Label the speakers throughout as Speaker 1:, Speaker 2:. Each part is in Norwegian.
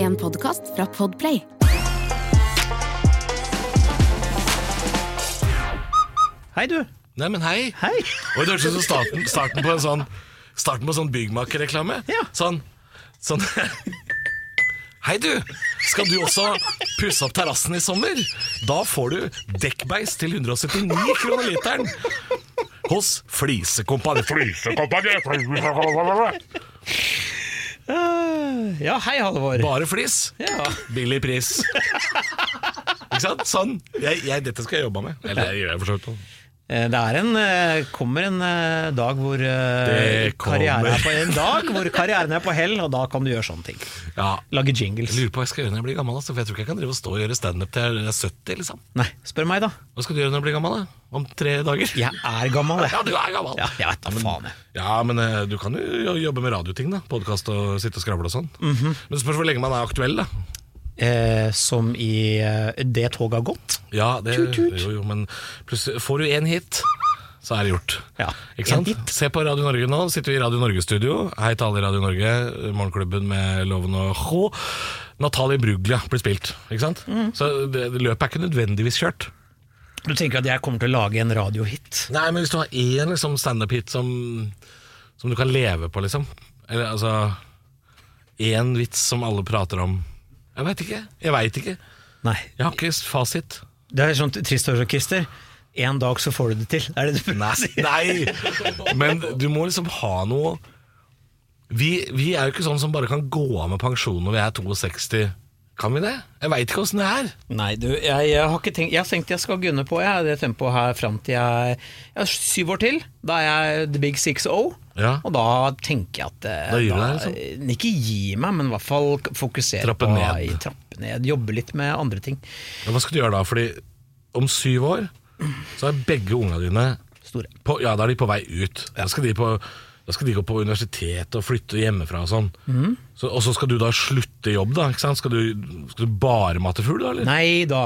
Speaker 1: En podkast fra Podplay.
Speaker 2: Hei, du.
Speaker 3: Nei, men hei.
Speaker 2: Hei.
Speaker 3: Oi, det hørtes ut som starten, starten på en sånn Starten på en sånn byggmakerreklame.
Speaker 2: Ja.
Speaker 3: Sånn, sånn Hei, du! Skal du også pusse opp terrassen i sommer? Da får du dekkbeis til 179 kroner literen hos Flisekompaniet.
Speaker 4: Flisekompaniet.
Speaker 2: Eh, Ja, hei, Halvor.
Speaker 3: Bare flis,
Speaker 2: Ja.
Speaker 3: billig pris. Ikke sant? Sånn. Jeg, jeg, dette skal jeg jobbe med. Eller det gjør jeg for så vidt.
Speaker 2: Eh, Det er en, eh, kommer en eh, dag hvor eh,
Speaker 3: Det kommer.
Speaker 2: karrieren er på en dag hvor karrieren er på hell, og da kan du gjøre sånne ting.
Speaker 3: Ja.
Speaker 2: Lage jingles.
Speaker 3: Jeg lurer på hva jeg skal gjøre når jeg blir gammel, altså, for jeg tror ikke jeg kan drive og stå og gjøre standup til jeg er 70. liksom
Speaker 2: Nei, spør meg, da.
Speaker 3: Hva skal du gjøre når du blir gammel? da? Om tre dager?
Speaker 2: Jeg er gammel,
Speaker 3: Ja, du
Speaker 2: jeg.
Speaker 3: er gammel.
Speaker 2: Ja, jeg vet da
Speaker 3: men,
Speaker 2: faen, jeg.
Speaker 3: Ja, men eh, du kan jo jo- jobbe med radioting, da. Podkast og sitte og skravle og sånn.
Speaker 2: Mhm.
Speaker 3: Men spørs hvor lenge man er aktuell, da.
Speaker 2: Eh, som i eh, Det toget har gått.
Speaker 3: Ja, det,
Speaker 2: Tut, tut.
Speaker 3: Jo, jo, men plutselig får du én hit, så er det gjort.
Speaker 2: Ja,
Speaker 3: Ikke
Speaker 2: en
Speaker 3: sant?
Speaker 2: hit.
Speaker 3: Se på Radio Norge nå. Sitter vi i Radio Norge-studio. Hei til alle i Radio Norge, Morgenklubben med Loven og Ho. Natalie Bruglia blir spilt, ikke sant?
Speaker 2: Mhm.
Speaker 3: Så det, det løpet er ikke nødvendigvis kjørt.
Speaker 2: Du tenker at jeg kommer til å lage en radiohit?
Speaker 3: Nei, men hvis du har én liksom, standup-hit som, som du kan leve på, liksom Eller altså Én vits som alle prater om Jeg veit ikke. Jeg vet ikke.
Speaker 2: Nei.
Speaker 3: Jeg har ikke fasit.
Speaker 2: Det er sånn trist å høre, Christer. En dag så får du det til. Er det det du prøver å si?
Speaker 3: Nei! Men du må liksom ha noe vi, vi er jo ikke sånn som bare kan gå av med pensjon når vi er 62. Kan vi det? Jeg veit ikke åssen det er.
Speaker 2: Nei, du, jeg, jeg har ikke tenkt Jeg har tenkt jeg skal gunne på jeg, det tempoet her fram til jeg, jeg er syv år til. Da er jeg the big six o.
Speaker 3: Ja.
Speaker 2: Og da tenker jeg at eh,
Speaker 3: Da gir du deg, liksom?
Speaker 2: Ikke gi meg, men i hvert fall k- fokusere
Speaker 3: Trappe
Speaker 2: på
Speaker 3: ned.
Speaker 2: trappe ned. Jobbe litt med andre ting.
Speaker 3: Men Hva skal du gjøre da? Fordi om syv år så er begge unga dine
Speaker 2: Store.
Speaker 3: på, Ja, da er de på vei ut. Da, skal de på, da skal de gå på universitet og flytte hjemmefra og sånn.
Speaker 2: Mhm.
Speaker 3: Så, og så skal du da slutte i jobb, da? ikke sant? Skal du, skal du bare mate fugl, da? eller?
Speaker 2: Nei da.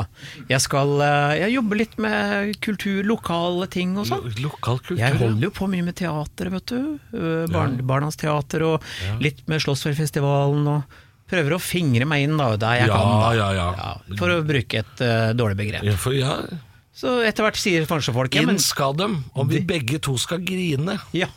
Speaker 2: Jeg skal eh, Jeg jobber litt med kultur, lokale ting og sånn.
Speaker 3: Lo- Lokal kultur?
Speaker 2: Jeg
Speaker 3: ja.
Speaker 2: holder jo på mye med teater, vet du. Eh, Barn, Barnas teater og litt med Slottsfjellfestivalen og Prøver å fingre meg inn da, der jeg
Speaker 3: Ja,
Speaker 2: kan, da.
Speaker 3: ja, ja.
Speaker 2: For å bruke et eh, dårlig begrep.
Speaker 3: Ja, for, ja.
Speaker 2: Så etter hvert sier kanskje folk ja,
Speaker 3: Inn
Speaker 2: men,
Speaker 3: skal dem, om vi begge to skal grine.
Speaker 2: ja.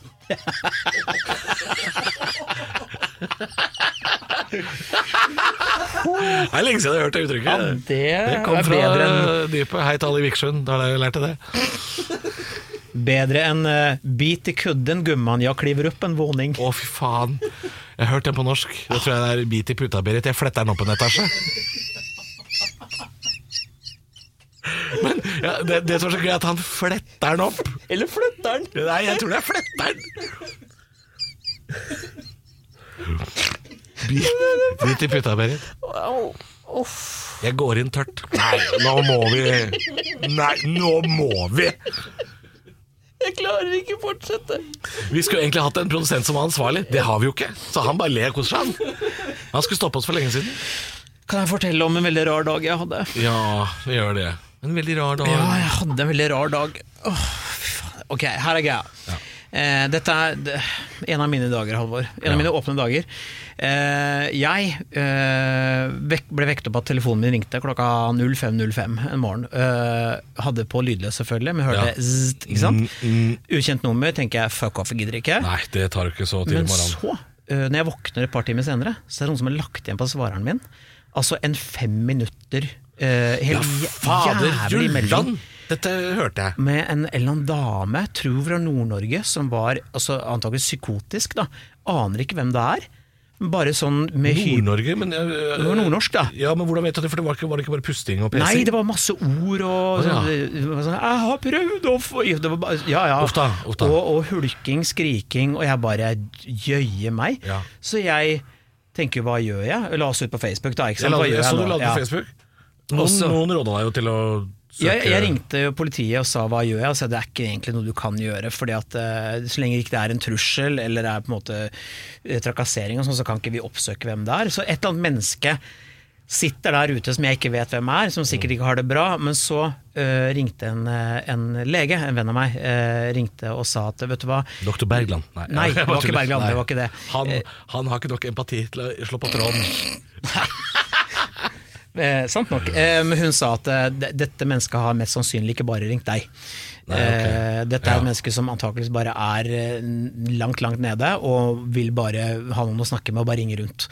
Speaker 3: Det er lenge siden jeg har hørt det
Speaker 2: ja,
Speaker 3: uttrykket.
Speaker 2: det,
Speaker 3: det kom
Speaker 2: er
Speaker 3: fra
Speaker 2: bedre enn
Speaker 3: dypet. Hei til alle i Vikersund, da har dere lært det.
Speaker 2: bedre enn, eh, bit i kudden gumman, ja kliver opp en våning.
Speaker 3: Å, fy faen. Jeg har hørt den på norsk. Det tror jeg det er bit i puta, Berit. Jeg fletter den opp en etasje. Men ja, det, det som er så gøy, er at han fletter den opp.
Speaker 2: Eller flytter den!
Speaker 3: Nei, jeg tror det er fletteren. Bit, bit i puta, Berit. Jeg går inn tørt. Nei, nå må vi Nei, nå må vi!
Speaker 2: Jeg klarer ikke fortsette.
Speaker 3: Vi skulle egentlig hatt en produsent som var ansvarlig. Det har vi jo ikke. Så han bare ler og koser seg. han. Han skulle stoppe oss for lenge siden.
Speaker 2: Kan jeg fortelle om en veldig rar dag jeg hadde?
Speaker 3: Ja, vi gjør det. En veldig rar dag.
Speaker 2: Ja, jeg hadde en veldig rar dag. Åh, fy faen. ok, her er greia. Eh, dette er det- en av mine dager, Halvor. En av mine åpne dager. Eh, jeg eh, vek ble vekket opp av at telefonen min ringte klokka 05.05 en morgen. Eh, hadde på lydløs, selvfølgelig, men hørte
Speaker 3: Ja.
Speaker 2: zzzt, ikke sant?
Speaker 3: Mm,
Speaker 2: Ukjent nummer, tenker jeg fuck off, jeg gidder ikke.
Speaker 3: Nei, det tar jo ikke så
Speaker 2: Men
Speaker 3: tidlig i morgen.
Speaker 2: så, eh, når jeg våkner et par timer senere, så er det noen som har lagt igjen på svareren min. Altså en fem minutter uh,
Speaker 3: Ja,
Speaker 2: Helt
Speaker 3: fader
Speaker 2: jævlig melding
Speaker 3: Julland! Dette hørte jeg.
Speaker 2: med en eller annen dame, jeg tror fra Nord-Norge, som var altså, antakelig psykotisk, da. Aner ikke hvem det er. Bare sånn med hy...
Speaker 3: Nord-Norge, men øh,
Speaker 2: Det var nordnorsk, da.
Speaker 3: Ja, men hvordan vet du det? For det var ikke, var det ikke bare pusting og
Speaker 2: Nei,
Speaker 3: pesing?
Speaker 2: det var masse ord og
Speaker 3: Å, ja.
Speaker 2: det var sånn, 'Jeg har prøvd å få det var bare, Ja, ja.
Speaker 3: Uff da, uff da.
Speaker 2: Og, og hulking, skriking, og jeg bare jøye meg.
Speaker 3: Ja.
Speaker 2: Så jeg tenker hva gjør jeg? La oss ut på Facebook, da. Ikke
Speaker 3: Jeg,
Speaker 2: sant?
Speaker 3: la-
Speaker 2: Hva gjør
Speaker 3: jeg så
Speaker 2: nå?
Speaker 3: du la det
Speaker 2: Ja.
Speaker 3: på Facebook. Noen,
Speaker 2: Også-
Speaker 3: noen råda deg jo til å søke
Speaker 2: Jeg, jeg ringte jo politiet og sa hva gjør jeg, og sa det er ikke egentlig noe du kan gjøre. fordi at eh, Så lenge det ikke er en trussel eller det er på en måte eh, trakassering, og sånn, så kan ikke vi oppsøke hvem det er. Så et eller annet menneske sitter der ute som jeg ikke vet hvem er, som sikkert ikke har det bra. Men så eh, ringte en, eh, en lege, en venn av meg, eh, ringte og sa at vet du hva,
Speaker 3: Dr. Bergland.
Speaker 2: Nei,
Speaker 3: jeg
Speaker 2: det var
Speaker 3: bare
Speaker 2: ikke
Speaker 3: tuller.
Speaker 2: Bergland, det
Speaker 3: Nei.
Speaker 2: var ikke det. Eh.
Speaker 3: Han, han har ikke nok empati til å slå på tråden.
Speaker 2: Eh, sant nok. Eh, men hun sa at eh, de- dette mennesket har mest sannsynlig ikke bare ringt deg.
Speaker 3: Nei, ok.
Speaker 2: eh, dette er
Speaker 3: Ja.
Speaker 2: et menneske som antakeligvis bare er eh, langt, langt nede, og vil bare ha noen å snakke med og bare ringe rundt.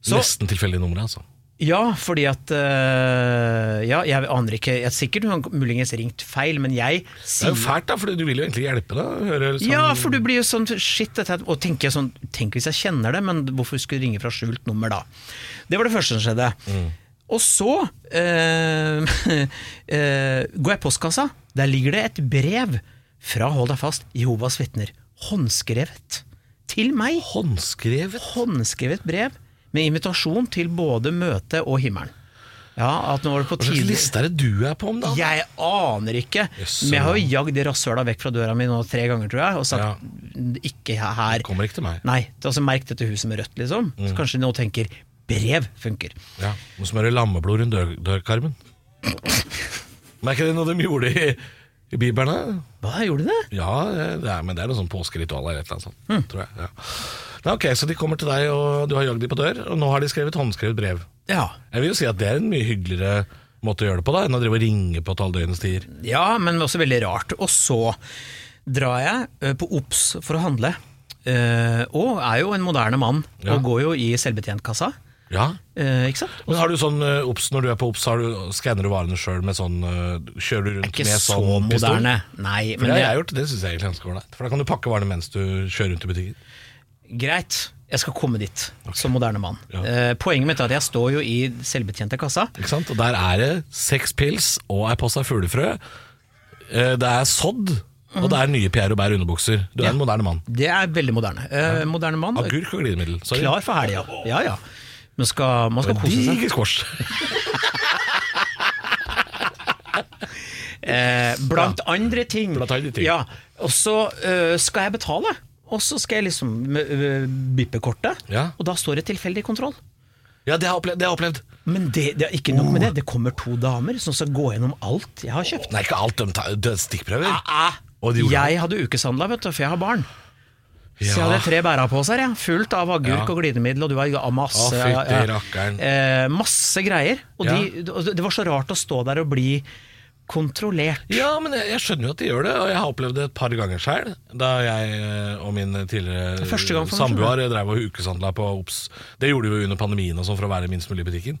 Speaker 2: Så,
Speaker 3: Nesten tilfeldig nummer, altså.
Speaker 2: ja, fordi at eh, Ja, jeg aner ikke. Jeg er sikkert hun har muligens ringt feil, men jeg
Speaker 3: Det er
Speaker 2: sier
Speaker 3: jo fælt, da, for du vil jo egentlig hjelpe. da høre, liksom.
Speaker 2: ja, for du blir jo sånn shit, dette, her- og tenker jeg sånn, tenk hvis jeg kjenner det, men hvorfor skulle jeg ringe fra skjult nummer da? Det var det første som skjedde.
Speaker 3: Mm.
Speaker 2: Og så eh, eh, går jeg i postkassa, der ligger det et brev fra, hold deg fast, Jehovas vitner. Håndskrevet. Til meg.
Speaker 3: sånn Håndskrevet?
Speaker 2: Håndskrevet brev med invitasjon til både møte og himmelen. Ja, at nå var det på
Speaker 3: Hva slags
Speaker 2: tide
Speaker 3: liste er det du er på om dagen?
Speaker 2: jeg aner ikke,
Speaker 3: Jøss,
Speaker 2: men jeg har jo
Speaker 3: mann.
Speaker 2: jagd det rasshøla vekk fra døra mi nå tre ganger, tror jeg, og sagt
Speaker 3: Ja.
Speaker 2: ikke her.
Speaker 3: Kommer ikke til meg.
Speaker 2: Nei, altså merk dette huset med rødt, liksom. Så kanskje de nå tenker brev funker.
Speaker 3: Ja, Må smøre lammeblod rundt dør dørkarmen. Men er ikke det noe de gjorde i, i Bibelen? da?
Speaker 2: Hva gjorde de det?
Speaker 3: Ja, det er, men det er noe sånn påskeritual eller et eller annet sånt,
Speaker 2: Hmm.
Speaker 3: tror jeg. Ja. Nei, ok, Så de kommer til deg, og du har jagd dem på dør, og nå har de skrevet håndskrevet brev.
Speaker 2: Ja.
Speaker 3: Jeg vil jo si at det er en mye hyggeligere måte å gjøre det på da, enn å drive og ringe på et halvdøgnets tider.
Speaker 2: ja, men også veldig rart. Og så drar jeg ø, på OBS for å handle, Eh, og er jo en moderne mann,
Speaker 3: Ja.
Speaker 2: og går jo i selvbetjentkassa,
Speaker 3: Ja.
Speaker 2: Eh, ikke sant?
Speaker 3: Men har du sånn eh, obs når du er på obs, har du, skanner du varene sjøl med sånn eh, Kjører du rundt
Speaker 2: Ikke
Speaker 3: med
Speaker 2: så
Speaker 3: sånn pistol?
Speaker 2: moderne. Nei,
Speaker 3: For
Speaker 2: men
Speaker 3: det har
Speaker 2: jeg,
Speaker 3: jeg gjort, det syns jeg egentlig er ganske ålreit. For da kan du pakke varene mens du kjører rundt i butikken.
Speaker 2: Greit, jeg skal komme dit som moderne mann.
Speaker 3: Ja.
Speaker 2: Eh, poenget mitt er at jeg står jo i selvbetjente kassa.
Speaker 3: Ikke sant? Og der er det seks pils og ei pose fuglefrø. Eh, Det er sodd, og det er nye Pierre Robert underbukser. Du er en moderne mann.
Speaker 2: Det er veldig moderne. Eh, moderne mann,
Speaker 3: Agurk og glidemiddel. Sorry.
Speaker 2: klar for helga. Ja, ja. Men skal, man skal kose seg.
Speaker 3: Diger squash.
Speaker 2: Eh, blant andre ting.
Speaker 3: Blant andre ting.
Speaker 2: Ja, og så eh, skal jeg betale. Og så skal jeg liksom eh, bippe kortet,
Speaker 3: Ja.
Speaker 2: og da står det tilfeldig kontroll.
Speaker 3: Ja, det har jeg opplevd. Det har jeg opplevd.
Speaker 2: Men det, det er ikke nok med det. Det kommer to damer som skal gå gjennom alt jeg har kjøpt.
Speaker 3: Nei, ikke alt. De tar de tar stikkprøver. Og de gjorde det.
Speaker 2: Jeg hadde ukeshandla, vet du, for jeg har barn. Så jeg
Speaker 3: Ja.
Speaker 2: hadde tre bæreposer, jeg. Fullt av agurk
Speaker 3: Ja.
Speaker 2: og glidemiddel, og du har av masse
Speaker 3: Å, fytti rakkeren.
Speaker 2: eh, Masse greier. Og
Speaker 3: Ja.
Speaker 2: de, og det var så rart å stå der og bli kontrollert.
Speaker 3: Ja, men jeg, jeg skjønner jo at de gjør det, og jeg har opplevd det et par ganger sjøl. Da jeg eh, og min
Speaker 2: er første
Speaker 3: tidligere
Speaker 2: gang for meg,
Speaker 3: samboer drev og ukeshandla på Obs. Det gjorde vi jo under pandemien og sånn for å være minst mulig i butikken.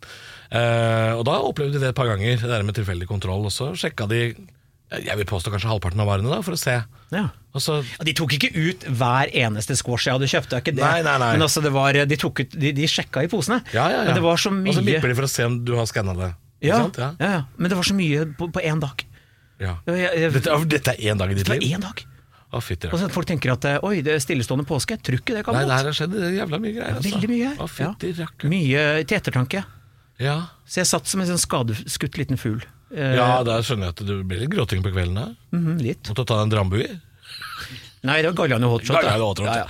Speaker 3: Eh, og da opplevde vi det et par ganger, det der med tilfeldig kontroll. Og så sjekka de jeg vil påstå kanskje halvparten av varene, da, for å se.
Speaker 2: Ja.
Speaker 3: Og så
Speaker 2: Ja, De tok ikke ut hver eneste squash jeg hadde kjøpt, det er ikke det.
Speaker 3: Nei, nei, nei.
Speaker 2: Men altså, det var, de, tok ut, de, de sjekka i posene.
Speaker 3: ja, ja, ja.
Speaker 2: Men det var så mye
Speaker 3: Og så bipper de for å se om du har skanna det. Ikke
Speaker 2: ja,
Speaker 3: sant?
Speaker 2: ja. Ja, Men det var så mye på, på én dag.
Speaker 3: Ja.
Speaker 2: Ja, jeg- jeg-
Speaker 3: Dette, er- dette er én dag i ditt
Speaker 2: Det var
Speaker 3: liv?
Speaker 2: én dag.
Speaker 3: Å, fytti
Speaker 2: Og så at folk tenker at eh, oi, det er stillestående påske, jeg tror ikke det kan
Speaker 3: Nei,
Speaker 2: gå.
Speaker 3: det her har skjedd jævla mye greier. altså.
Speaker 2: Veldig mye her.
Speaker 3: Å, fytti
Speaker 2: Ja.
Speaker 3: rakkeren.
Speaker 2: Mye til ettertanke.
Speaker 3: Ja.
Speaker 2: Så jeg satt som en sånn skadeskutt liten fugl. Eh,
Speaker 3: Ja, da skjønner jeg at du blir litt gråting på kvelden. da.
Speaker 2: mhm, litt.
Speaker 3: Måtte ta en Drambu i.
Speaker 2: Nei, det var Galliano hotshot. da.
Speaker 3: Galliano hotshot.
Speaker 2: Ja, ja.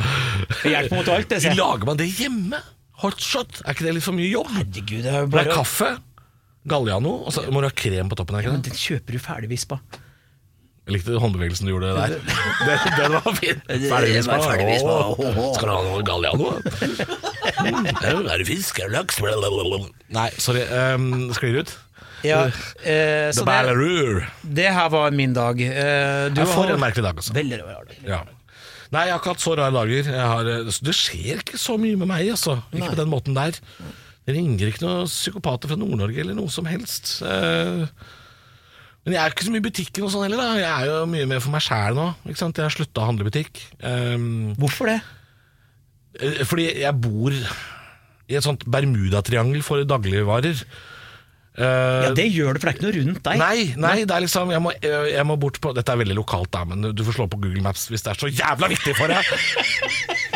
Speaker 2: Det hjelper mot alt, det.
Speaker 3: Så
Speaker 2: ser jeg.
Speaker 3: Lager man det hjemme? Hotshot? Er ikke det litt for mye jobb?
Speaker 2: Herregud, det er jo
Speaker 3: Det er
Speaker 2: bare
Speaker 3: kaffe, Galliano, og så må du ha krem på toppen. Er ikke
Speaker 2: Men
Speaker 3: det?
Speaker 2: Den kjøper du ferdigvispa.
Speaker 3: Jeg likte håndbevegelsen du gjorde der. Den, den var fin. Ferdigvispa.
Speaker 2: Ferdigvispa.
Speaker 3: Åh, Skal du ha noe Galliano? Mm, Er det fisk? Er det laks? Blablabla. Nei, sorry.
Speaker 2: ehm,
Speaker 3: Um, sklir ut.
Speaker 2: Ja, eh,
Speaker 3: The
Speaker 2: så det,
Speaker 3: Ballerur.
Speaker 2: det her var min dag. Eh, du
Speaker 3: Jeg får
Speaker 2: har-
Speaker 3: en merkelig dag, altså.
Speaker 2: Veldig rar dag.
Speaker 3: Ja. Nei, jeg har ikke hatt så rare dager. Jeg har, så det skjer ikke så mye med meg, altså. Ikke på den måten der. Det ringer ikke noen psykopater fra Nord-Norge eller noe som helst. Eh, Men jeg er ikke så mye i butikken og sånn heller. da Jeg er jo mye mer for meg sjæl nå. Ikke sant? Jeg har slutta å handle i butikk. Eh,
Speaker 2: Hvorfor det?
Speaker 3: Eh, Fordi jeg bor i et sånt Bermudatriangel for dagligvarer. Eh,
Speaker 2: Ja, Det gjør det, for det er ikke noe rundt deg.
Speaker 3: Nei, nei, det er liksom jeg må, jeg må bort på Dette er veldig lokalt, da, men du får slå på Google Maps hvis det er så jævla viktig for deg.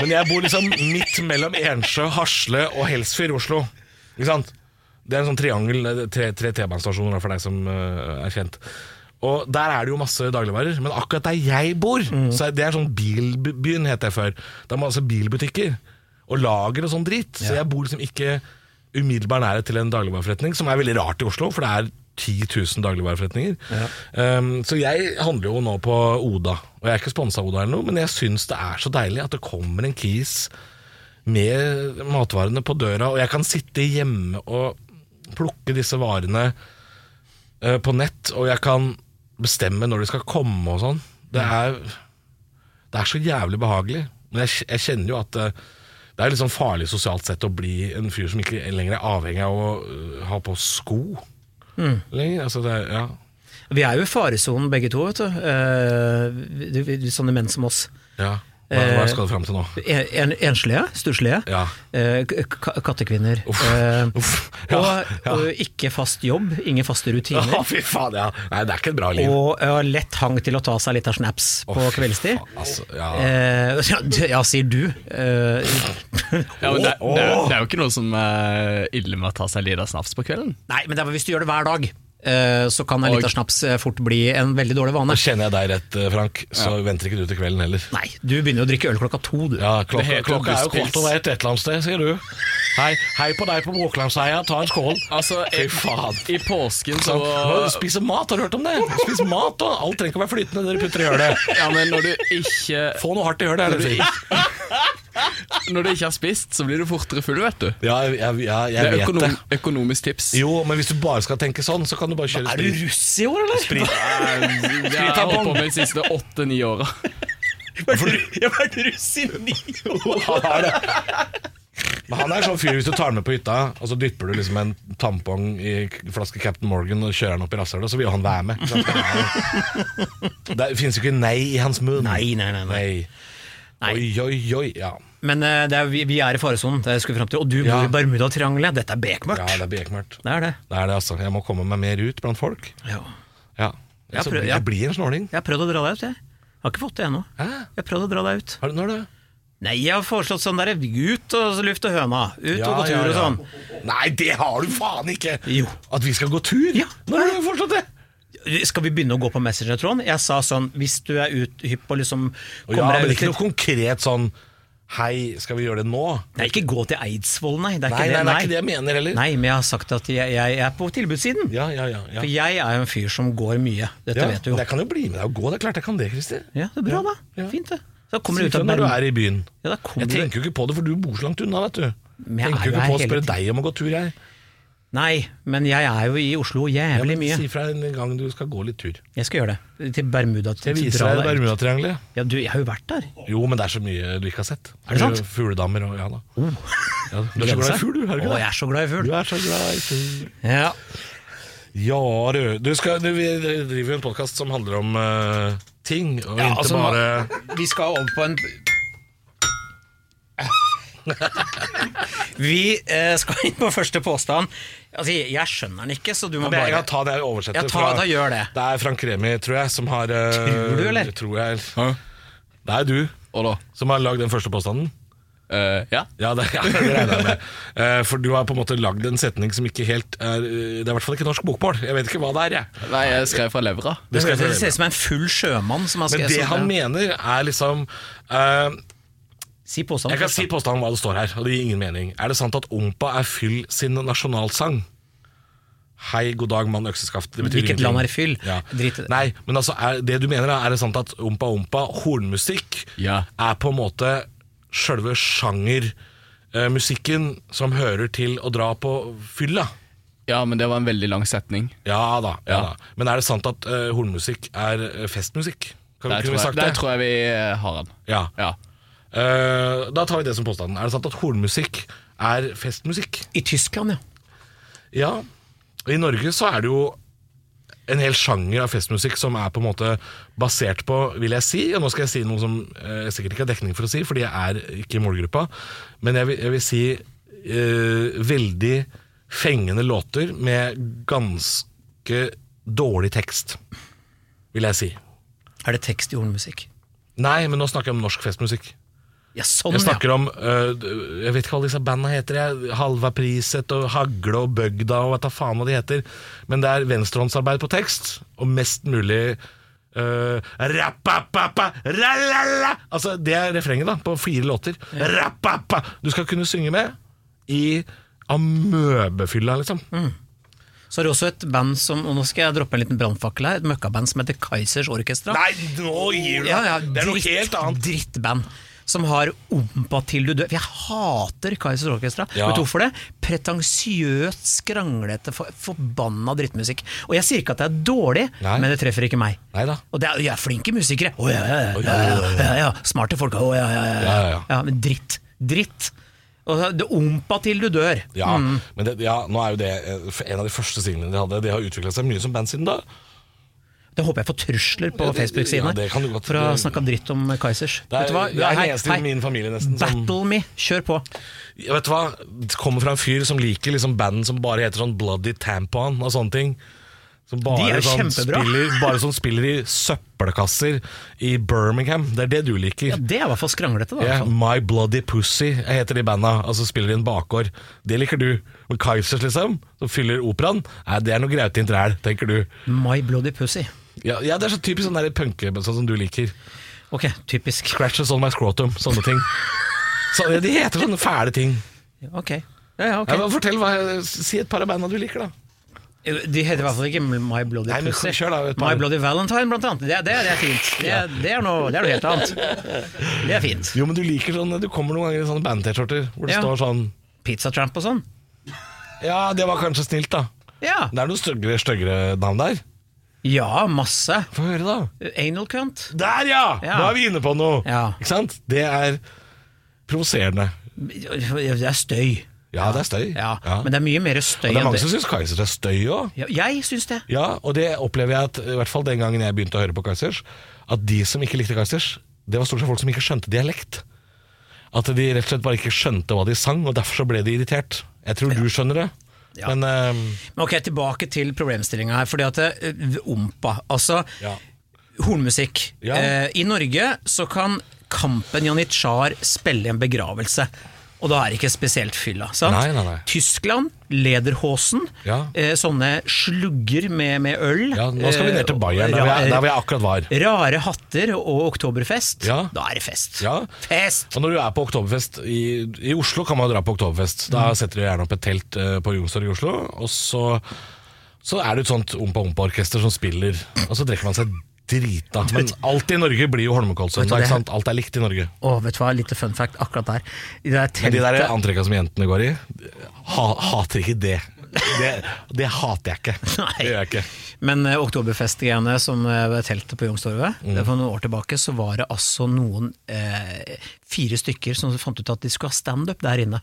Speaker 3: Men jeg bor liksom midt mellom Ensjø, Hasle og Helsfyr, Oslo. Ikke sant? Det er en sånn triangel, eh, tre, tre T-banestasjoner da, for deg som eh, er kjent. Og der er det jo masse dagligvarer, men akkurat der jeg bor, så er det er sånn bilbyen, het det før. Det er masse bilbutikker og lager og sånn dritt. Så jeg bor liksom ikke umiddelbar nærhet til en dagligvareforretning, som er veldig rart i Oslo, for det er 10 000 dagligvareforretninger. Um, så jeg handler jo nå på Oda, og jeg er ikke sponsa av Oda eller noe, men jeg syns det er så deilig at det kommer en kis med matvarene på døra, og jeg kan sitte hjemme og plukke disse varene eh, på nett, og jeg kan bestemme når de skal komme og sånn. Det er, det er så jævlig behagelig. Men jeg, kj- jeg kjenner jo at eh, det er litt sånn farlig sosialt sett å bli en fyr som ikke lenger er avhengig av å eh, ha på sko
Speaker 4: Mm.
Speaker 3: lenger. Altså det, er- ja.
Speaker 2: Vi er jo i faresonen begge to, vet du. Eh, vi- vi- vi- sånne menn som oss.
Speaker 3: ja. Hva, hva
Speaker 2: Eh,
Speaker 3: skal du fram til nå?
Speaker 2: En, en, enslige, stusslige.
Speaker 3: Ja.
Speaker 2: eh, k- k- kattekvinner.
Speaker 3: Uff,
Speaker 2: eh,
Speaker 3: uff, ja,
Speaker 2: og,
Speaker 3: ja.
Speaker 2: og ikke fast jobb, ingen faste rutiner.
Speaker 3: Å, fy faen, ja. Nei, det er ikke et bra liv.
Speaker 2: Og eh, lett hang til å ta seg litt av snaps
Speaker 3: Å,
Speaker 2: på
Speaker 3: fy
Speaker 2: kveldstid.
Speaker 3: faen, Altså, ja.
Speaker 2: Eh, ja, d- ja, sier du. Eh,
Speaker 4: Ja, men det, det, er, det er jo ikke noe som er ille med å ta seg en liten snaps på kvelden.
Speaker 2: nei, men det er bare hvis du gjør det hver dag, eh, så kan en
Speaker 4: Og-
Speaker 2: liten snaps eh, fort bli en veldig dårlig vane.
Speaker 3: Og Kjenner jeg deg rett, eh, Frank, så venter ikke du til kvelden heller.
Speaker 2: Nei, du begynner jo å drikke øl klokka to, du.
Speaker 3: Ja,
Speaker 4: Det
Speaker 3: klokka,
Speaker 4: heter jo
Speaker 3: klokka er jo
Speaker 4: busspils.
Speaker 3: kvart over ett et eller annet sted, sier du. Hei, hei på deg på Våklandsheia, ta en skål.
Speaker 4: Altså,
Speaker 3: Fy faen.
Speaker 4: I påsken så
Speaker 3: Sånn, Spise mat, har du hørt om det? Spis mat, da. Alt trenger ikke å være flytende, dere putter i hølet.
Speaker 4: Ja, men når du ikke
Speaker 3: Få noe hardt i hølet, er det fint.
Speaker 4: Når du ikke har spist, så blir du fortere full, vet du.
Speaker 3: Ja, jeg, jeg, jeg,
Speaker 4: Det er
Speaker 3: vet
Speaker 4: økonom,
Speaker 3: det.
Speaker 4: økonomisk tips.
Speaker 3: Jo, men hvis du bare skal tenke sånn, så kan du bare kjøre
Speaker 2: Er du
Speaker 3: sprit.
Speaker 2: russ i år, eller?
Speaker 4: Jeg har holdt på med de siste åtte-ni åra.
Speaker 2: Jeg har vært russ i ni år.
Speaker 3: Han er det. Men han er sånn fyr hvis du tar den med på hytta, og så dypper du liksom en tampong i k- flaske Captain Morgan og kjører den opp i rasshølet, så vil jo han være med. Så han skal være med. Det fins jo ikke nei i hans munn.
Speaker 2: Nei, nei, nei, nei. Nei.
Speaker 3: Oi, oi, oi. Ja,
Speaker 2: Men eh, det er, vi, vi er i faresonen, det skal vi frem til. Og du bor
Speaker 3: Ja.
Speaker 2: i Bermudatriangelet. Dette er
Speaker 3: ja
Speaker 2: bekmørkt.
Speaker 3: det er bekmørkt.
Speaker 2: det er det.
Speaker 3: Det er det, altså. Jeg må komme meg mer ut blant folk.
Speaker 2: Ja.
Speaker 3: Ja.
Speaker 2: Jeg
Speaker 3: Så
Speaker 2: prøver-
Speaker 3: blir-
Speaker 2: ja.
Speaker 3: jeg blir en snåling.
Speaker 2: Jeg har prøvd å dra deg ut, jeg. Har ikke fått det ennå.
Speaker 3: Hæ?
Speaker 2: Jeg har prøvd å dra deg ut.
Speaker 3: Har du når det?
Speaker 2: Nei, jeg har foreslått sånn derre ut og luft og høna. Ut og gå tur og sånn.
Speaker 3: Nei, det har du faen ikke!
Speaker 2: Jo.
Speaker 3: At vi skal gå tur?
Speaker 2: Ja.
Speaker 3: Når har du forstått det?
Speaker 2: sånn. Skal vi begynne å gå på Messenger, Trond? Jeg sa sånn, hvis du er ut hypp og liksom
Speaker 3: Og ja,
Speaker 2: kommer
Speaker 3: men
Speaker 2: deg
Speaker 3: det er
Speaker 2: ut litt
Speaker 3: ikke noe konkret sånn Hei, skal vi gjøre det nå?
Speaker 2: Nei, ikke gå til Eidsvoll, nei. Det er
Speaker 3: Nei, nei,
Speaker 2: ikke
Speaker 3: det er ikke
Speaker 2: det,
Speaker 3: det jeg mener heller.
Speaker 2: Nei, men jeg har sagt at jeg, jeg er på tilbudssiden.
Speaker 3: Ja, ja, ja, ja.
Speaker 2: For jeg er jo en fyr som går mye. Dette
Speaker 3: ja,
Speaker 2: vet du jo.
Speaker 3: Jeg kan jo bli med deg og gå, det er klart jeg kan det, Christer.
Speaker 2: Ja, det er bra, da.
Speaker 3: Ja.
Speaker 2: Fint, det. Da kommer du
Speaker 3: Si
Speaker 2: ut
Speaker 3: ifra
Speaker 2: av
Speaker 3: når du
Speaker 2: Bermuda.
Speaker 3: er i byen.
Speaker 2: Ja, da kommer
Speaker 3: Jeg
Speaker 2: du
Speaker 3: tenker jo ikke på det, for du bor så langt unna, vet du.
Speaker 2: Men jeg er jo
Speaker 3: tenker jo ikke
Speaker 2: her
Speaker 3: på å
Speaker 2: hele
Speaker 3: spørre
Speaker 2: tiden.
Speaker 3: deg om å gå tur, jeg.
Speaker 2: Nei, men jeg er jo i Oslo
Speaker 3: Ja,
Speaker 2: jævlig
Speaker 3: men
Speaker 2: mye.
Speaker 3: Si fra en gang du skal gå litt tur.
Speaker 2: Jeg skal gjøre det. Til Bermuda. Til
Speaker 3: Jeg viser
Speaker 2: dra
Speaker 3: deg
Speaker 2: deg ut.
Speaker 3: Bermudatriangelet.
Speaker 2: Ja, du, jeg har jo vært der.
Speaker 3: Jo, men det er så mye du ikke har sett.
Speaker 2: Er det sant?
Speaker 3: Fugledammer og ja da. Ja, du er så glad i fugl, du. Er
Speaker 2: Å,
Speaker 3: du ikke
Speaker 2: jeg
Speaker 3: det?
Speaker 2: er så glad i
Speaker 3: Du
Speaker 2: fugl.
Speaker 3: er så glad i fugl.
Speaker 2: Ja.
Speaker 3: Ja, du. du, skal, du vi driver jo en podkast som handler om eh, ting, og
Speaker 2: Ja,
Speaker 3: ikke
Speaker 2: altså,
Speaker 3: bare
Speaker 2: Vi skal over på en Vi eh, skal inn på første påstand. Altså, jeg, jeg skjønner den ikke, så du må
Speaker 3: Men jeg
Speaker 2: bare
Speaker 3: kan ta det jeg oversetter.
Speaker 2: Ja, ta
Speaker 3: fra-
Speaker 2: det og gjør det.
Speaker 3: Det er Frank Remi, tror jeg, som har eh,
Speaker 2: Tror du, eller?
Speaker 3: Tror jeg.
Speaker 4: Hæ?
Speaker 3: Det er du
Speaker 4: Og da?
Speaker 3: som har lagd den første påstanden.
Speaker 4: eh, ja.
Speaker 3: Ja, det, ja, det regner jeg med. Eh, for du har på en måte lagd en setning som ikke helt er eh, Det er i hvert fall ikke norsk bokmål. Jeg vet ikke hva det er, jeg.
Speaker 4: Nei, jeg skrev fra levra.
Speaker 3: Det skal jeg
Speaker 2: det
Speaker 3: fortelle.
Speaker 2: ser ut som en full sjømann som har
Speaker 3: Men
Speaker 2: skrevet sånn
Speaker 3: det han mener, er liksom eh,
Speaker 2: Si påstanden.
Speaker 3: Jeg kan
Speaker 2: først,
Speaker 3: si
Speaker 2: da.
Speaker 3: påstanden om hva det står her, og det gir ingen mening. Er det sant at Ompa er Fyll sin nasjonalsang? Hei, god dag, mann økseskaft. Det betyr
Speaker 2: Hvilket
Speaker 3: ingenting.
Speaker 2: land er Fyll?
Speaker 3: Ja.
Speaker 2: Drit i det.
Speaker 3: Nei, men altså, er, det du mener, er, er det sant at Ompa Ompa, hornmusikk,
Speaker 4: Ja.
Speaker 3: er på en måte sjølve sjangermusikken som hører til å dra på fylla?
Speaker 4: Ja, men det var en veldig lang setning.
Speaker 3: Ja da. ja,
Speaker 4: Ja.
Speaker 3: da. Men er det sant at eh, hornmusikk er eh, festmusikk? Kan vi, kunne
Speaker 4: Der tror
Speaker 3: vi
Speaker 4: jeg,
Speaker 3: sagt
Speaker 4: der
Speaker 3: det?
Speaker 4: tror jeg vi eh, har den.
Speaker 3: Ja.
Speaker 4: Ja.
Speaker 3: Eh, da tar vi det som påstanden. Er det sant at hornmusikk er festmusikk?
Speaker 2: I Tyskland, ja.
Speaker 3: Ja. I Norge så er det jo en hel sjanger av festmusikk som er på en måte basert på, vil jeg si, og nå skal jeg si noe som eh, jeg sikkert ikke har dekning for å si, fordi jeg er ikke i målgruppa, men jeg vil, jeg vil si eh, veldig fengende låter med ganske dårlig tekst, vil jeg si.
Speaker 2: Er det tekst i hornmusikk?
Speaker 3: Nei, men nå snakker jeg om norsk festmusikk.
Speaker 2: Ja, sånn,
Speaker 3: Jeg
Speaker 2: ja.
Speaker 3: snakker om øh, Jeg vet ikke hva alle disse bandene heter. Jeg. Halva Priset og Hagle og Bøgda og vet da faen hva de heter. Men det er venstrehåndsarbeid på tekst, og mest mulig øh, Rappapappa, ralala Altså, det er refrenget, da, på fire låter. Rappappa Du skal kunne synge med i amøbefylla, liksom.
Speaker 2: Mm. Så har du også et band som og Nå skal jeg droppe en liten brannfakkel her. Et møkkaband som heter Kaizers Orkestra.
Speaker 3: Nei, nå gir du deg!
Speaker 2: Ja, ja,
Speaker 3: det er noe
Speaker 2: dritt-
Speaker 3: helt annet.
Speaker 2: Drittband. Som har ompa til du dør. For jeg hater Kaizers Orkestra.
Speaker 3: Ja.
Speaker 2: Vet du hvorfor det? Pretensiøst, skranglete, for, forbanna drittmusikk. Og jeg sier ikke at det er dårlig,
Speaker 3: Nei.
Speaker 2: men det treffer ikke meg.
Speaker 3: Neida.
Speaker 2: Og det er, jeg er flinke musikere. Å ja, ja, ja, ja, ja, ja. Smarte folk. Å ja, ja, ja.
Speaker 3: Ja, ja, ja.
Speaker 2: Men dritt. Dritt. Og så- det ompa til du dør.
Speaker 3: Ja, men det, ja, nå er jo det eh, en av de første singlene de hadde. De har utvikla seg mye som band siden da.
Speaker 2: Det håper jeg får trusler på
Speaker 3: Ja, det-
Speaker 2: Facebook-siden
Speaker 3: ja, det kan du godt-
Speaker 2: for å snakke dritt om Kaizers.
Speaker 3: Det er-
Speaker 2: Vet du hva?
Speaker 3: det er den eneste i min familie nesten som-
Speaker 2: Battle me, kjør på.
Speaker 3: Jeg vet hva, Det kommer fra en fyr som liker liksom band som bare heter sånn Bloody Tampon og sånne ting. Som bare,
Speaker 2: De er jo
Speaker 3: sånn
Speaker 2: kjempebra.
Speaker 3: spiller, bare som spiller i søppelkasser i Birmingham. Det er det du liker.
Speaker 2: Ja, sånn. det er i hvert fall skranglete, da. i
Speaker 3: Ja,
Speaker 2: hvert fall.
Speaker 3: My Bloody Pussy heter de banda, altså spiller i en bakgård. Det liker du. Men Kaizers, liksom, som fyller operaen, nei, det er noe grautint ræl, tenker du.
Speaker 2: Sånn, My bloody pussy.
Speaker 3: Ja, ja, det er så typisk sånn der punke sånn som du liker.
Speaker 2: Ok, typisk.
Speaker 3: Crashes on my scrotum, sånne ting. Så, ja, de heter sånne fæle ting.
Speaker 2: Ok. Ja, ja,
Speaker 3: Ja,
Speaker 2: ok.
Speaker 3: men fortell, hva, Si et par av banda du liker, da.
Speaker 2: De heter i hvert fall ikke My Bloody
Speaker 3: Nei, men
Speaker 2: Pussy.
Speaker 3: kjør da, et par.
Speaker 2: My Bloody Valentine, blant annet. Det, det, det er fint. Det, det, er noe, det er noe helt annet. Det er fint.
Speaker 3: Jo, men du liker sånn Du kommer noen ganger i sånne band-T-skjorter hvor det
Speaker 2: Ja.
Speaker 3: står sånn
Speaker 2: Pizza Tramp og sånn.
Speaker 3: Ja, det var kanskje snilt, da.
Speaker 2: Ja.
Speaker 3: Det er noen styggere, styggere navn der.
Speaker 2: ja, masse.
Speaker 3: Få høre, da.
Speaker 2: Anal cunt.
Speaker 3: Der, ja!
Speaker 2: Ja.
Speaker 3: Nå er vi inne på noe.
Speaker 2: Ja.
Speaker 3: Ikke sant? Det er provoserende.
Speaker 2: Det er støy.
Speaker 3: Ja, det er støy.
Speaker 2: Ja,
Speaker 3: Ja.
Speaker 2: Men det er mye mer støy
Speaker 3: Og det er
Speaker 2: enn
Speaker 3: mange
Speaker 2: det.
Speaker 3: som syns Kaizers er støy òg.
Speaker 2: Ja, jeg syns det.
Speaker 3: Ja, og det opplever jeg at i hvert fall den gangen jeg begynte å høre på Kaizers, at de som ikke likte Kaizers, det var stort sett folk som ikke skjønte dialekt. At de rett og slett bare ikke skjønte hva de sang, og derfor så ble de irritert. Jeg tror du skjønner det,
Speaker 2: Ja.
Speaker 3: men eh,
Speaker 2: Men ok, tilbake til problemstillinga her. Fordi at eh, Ompa, altså
Speaker 3: Ja.
Speaker 2: hornmusikk.
Speaker 3: Ja.
Speaker 2: Eh, I Norge så kan Kampen Janitsjar spille i en begravelse. Og da er det ikke spesielt fylla. sant?
Speaker 3: Nei, nei, nei.
Speaker 2: Tyskland, Lederhosen,
Speaker 3: Ja.
Speaker 2: eh, sånne slugger med, med øl.
Speaker 3: Ja, nå skal vi ned til Bayern, der hvor jeg, der
Speaker 2: eh,
Speaker 3: hvor jeg akkurat var.
Speaker 2: Rare hatter og oktoberfest.
Speaker 3: Ja.
Speaker 2: Da er det fest.
Speaker 3: Ja.
Speaker 2: Fest!
Speaker 3: Og når du er på oktoberfest i, I Oslo kan man dra på oktoberfest. Da setter du gjerne opp et telt eh, på Youngstorget i Oslo, og så, så er det et sånt ompa-ompa-orkester som spiller, og så drikker man seg drita. Men alt i Norge blir jo
Speaker 2: Vet du
Speaker 3: Holmenkollsøndag,
Speaker 2: det?
Speaker 3: ikke sant? Alt er likt i Norge.
Speaker 2: Å, vet du hva, lite fun fact akkurat der. I det der
Speaker 3: Men de der
Speaker 2: teltet-
Speaker 3: antrekka som jentene går i, ha, hater ikke det. det. Det hater jeg ikke.
Speaker 2: Nei.
Speaker 3: Det gjør jeg ikke.
Speaker 2: Men eh, oktoberfestgreiene som eh, var teltet på Youngstorget
Speaker 3: Mm.
Speaker 2: det For noen år tilbake så var det altså noen eh, fire stykker som fant ut at de skulle ha standup der inne.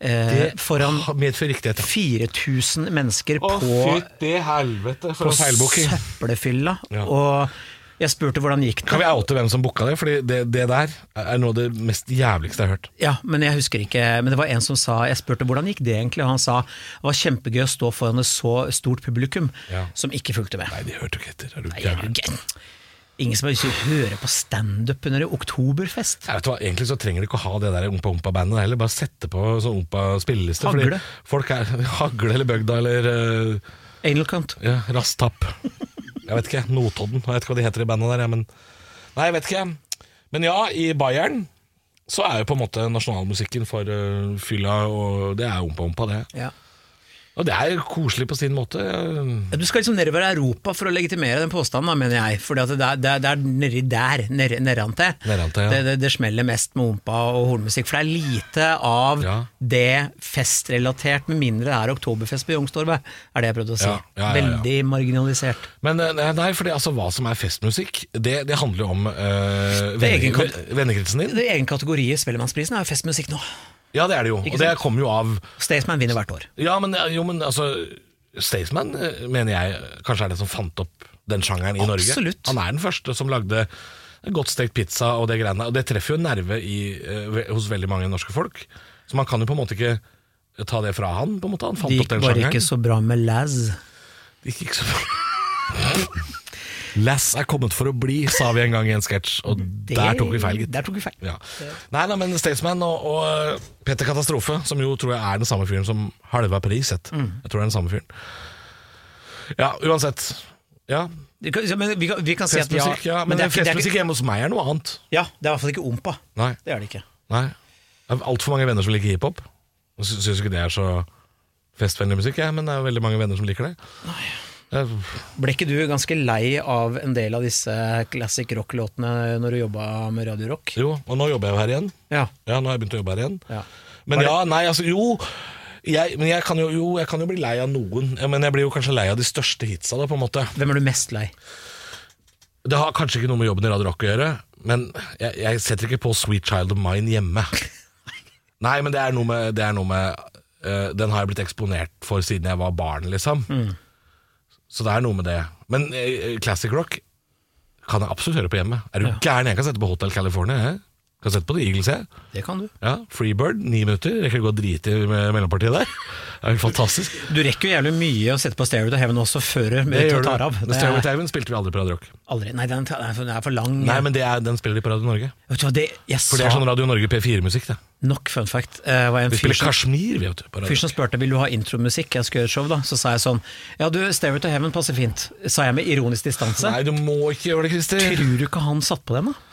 Speaker 2: Eh, foran
Speaker 3: Ha- Medfør riktighet.
Speaker 2: 4000 mennesker på,
Speaker 3: fytti helvete,
Speaker 2: på
Speaker 3: for en feilbooking.
Speaker 2: søppelfylla.
Speaker 3: Ja.
Speaker 2: Og jeg spurte hvordan gikk det.
Speaker 3: Kan vi oute hvem som booka det? Fordi det, det der er noe av det mest jævligste jeg har hørt.
Speaker 2: Ja, men jeg husker ikke Men det var en som sa Jeg spurte hvordan gikk det egentlig, og han sa det var kjempegøy å stå foran et så stort publikum
Speaker 3: Ja.
Speaker 2: som ikke fulgte med.
Speaker 3: Nei, de hørte jo ikke etter. Er du
Speaker 2: Nei,
Speaker 3: gæren?
Speaker 2: gøy. Ingen som har lyst til å høre på standup under en oktoberfest.
Speaker 3: Nei, vet du hva, Egentlig så trenger du ikke å ha det der ompa-ompa-bandet heller. Bare sette på sånn ompa-spilleliste. fordi
Speaker 2: Hagle.
Speaker 3: Folk er Hagle eller Bøgda eller eh,
Speaker 2: Anal cunt.
Speaker 3: ja, Rasstapp. Jeg vet ikke. Notodden. Jeg vet ikke hva de heter i bandet der, jeg, men Nei, jeg vet ikke. Men ja, i Bayern så er jo på en måte nasjonalmusikken for eh, fylla, og det er ompa-ompa, det.
Speaker 2: Ja.
Speaker 3: Og det er koselig på sin måte.
Speaker 2: Du skal liksom nedover i Europa for å legitimere den påstanden, da, mener jeg. For det, er- det er- det er nedi der, nedi- nedantil,
Speaker 3: Nedantil, ja.
Speaker 2: det, det, det smeller mest med ompa og hornmusikk. For det er lite av
Speaker 3: Ja.
Speaker 2: det festrelatert, med mindre det er oktoberfest på Youngstorget, er det jeg prøvde å si.
Speaker 3: Ja, ja, ja, ja.
Speaker 2: Veldig marginalisert.
Speaker 3: Men eh, nei, fordi altså hva som er festmusikk, det, det handler jo om eh,
Speaker 2: Det er
Speaker 3: venner,
Speaker 2: egen-
Speaker 3: vennekretsen din.
Speaker 2: Det er egen kategori i Spellemannsprisen er jo festmusikk nå.
Speaker 3: Ja, det er det jo.
Speaker 2: Ikke
Speaker 3: og det
Speaker 2: sant?
Speaker 3: kommer jo av
Speaker 2: Staysman vinner hvert år.
Speaker 3: Ja, men, jo, men altså Staysman eh, mener jeg kanskje er den som fant opp den sjangeren i
Speaker 2: Absolutt.
Speaker 3: Norge. Han er den første som lagde godt stekt pizza og det greiene. Og det treffer jo en nerve i, eh, ve- hos veldig mange norske folk. Så man kan jo på en måte ikke ta det fra han. på en måte Han fant
Speaker 2: Det
Speaker 3: opp
Speaker 2: gikk
Speaker 3: den
Speaker 2: bare
Speaker 3: sjangeren.
Speaker 2: ikke så bra med Laz.
Speaker 3: Det gikk ikke så bra. Lass er kommet for å bli, sa vi en gang i en sketsj, og der tok vi feil, gitt.
Speaker 2: Der tok vi feil.
Speaker 3: Ja. Nei da, men Staysman og, og Petter Katastrofe, som jo tror jeg er den samme fyren som halva pris sett.
Speaker 2: Mm.
Speaker 3: Jeg tror det er den samme fyren. Ja, uansett. Ja,
Speaker 2: Vi kan, men vi kan, vi kan si at ja,
Speaker 3: festmusikk, ja, men,
Speaker 2: men det er, ikke- det er,
Speaker 3: festmusikk
Speaker 2: ikke-
Speaker 3: hjemme hos meg er noe annet.
Speaker 2: ja, det er i hvert fall ikke ompa.
Speaker 3: Nei.
Speaker 2: Det er det ikke.
Speaker 3: Nei. Det er altfor mange venner som liker hiphop. Jeg sy- Syns ikke det er så festvennlig musikk, jeg, men det er jo veldig mange venner som liker det. Jeg-
Speaker 2: Ble ikke du ganske lei av en del av disse classic rock-låtene når du jobba med Radio Rock?
Speaker 3: Jo, og nå jobber jeg jo her igjen.
Speaker 2: Ja.
Speaker 3: Ja, nå har jeg begynt å jobbe her igjen.
Speaker 2: Ja.
Speaker 3: Men
Speaker 2: Var det-
Speaker 3: ja, nei, altså jo jeg, men jeg kan jo, jo, jeg kan jo bli lei av noen. Ja, Men jeg blir jo kanskje lei av de største hitsa, da, på en måte.
Speaker 2: Hvem er du mest lei?
Speaker 3: Det har kanskje ikke noe med jobben i Radio Rock å gjøre, men jeg, jeg setter ikke på Sweet Child of Mine hjemme. Nei, men det er noe med, det er noe med eh, Den har jeg blitt eksponert for siden jeg var barn, liksom.
Speaker 2: Mm.
Speaker 3: Så det er noe med det. Men eh, classic rock kan jeg absolutt høre på hjemme. Er du gæren? Jeg kan sette på Hotel California. Jeg. Kan sette på The Eagles, jeg.
Speaker 2: Det kan du.
Speaker 3: Ja, Freebird, ni minutter. Rekker gå og drite i me- mellompartiet der. Det er jo fantastisk.
Speaker 2: Du rekker jo jævlig mye å sette på Stairway to Heaven også før
Speaker 3: Det
Speaker 2: du
Speaker 3: gjør
Speaker 2: tar
Speaker 3: du.
Speaker 2: av.
Speaker 3: Men Stairway to Heaven spilte vi aldri på Radio Rock.
Speaker 2: Aldri. Nei, den, den er for- den er for lang.
Speaker 3: Nei, men det er, den spiller de på Radio Norge.
Speaker 2: Vet du hva, det, jeg
Speaker 3: For det er
Speaker 2: sa
Speaker 3: sånn Radio Norge P4-musikk, det.
Speaker 2: nok fun fact. Uh, var en
Speaker 3: Vi
Speaker 2: fyr
Speaker 3: spiller
Speaker 2: som,
Speaker 3: Kashmir, vi, vet du. På
Speaker 2: fyr
Speaker 3: Radio.
Speaker 2: som spurte vil du ha intromusikk, jeg skulle gjøre et show, da. Så sa jeg sånn Ja, du, Stairway to Heaven passer fint, sa jeg med ironisk distanse.
Speaker 3: Nei, du må ikke gjøre det, Christer.
Speaker 2: Tror du ikke han satt på den, da?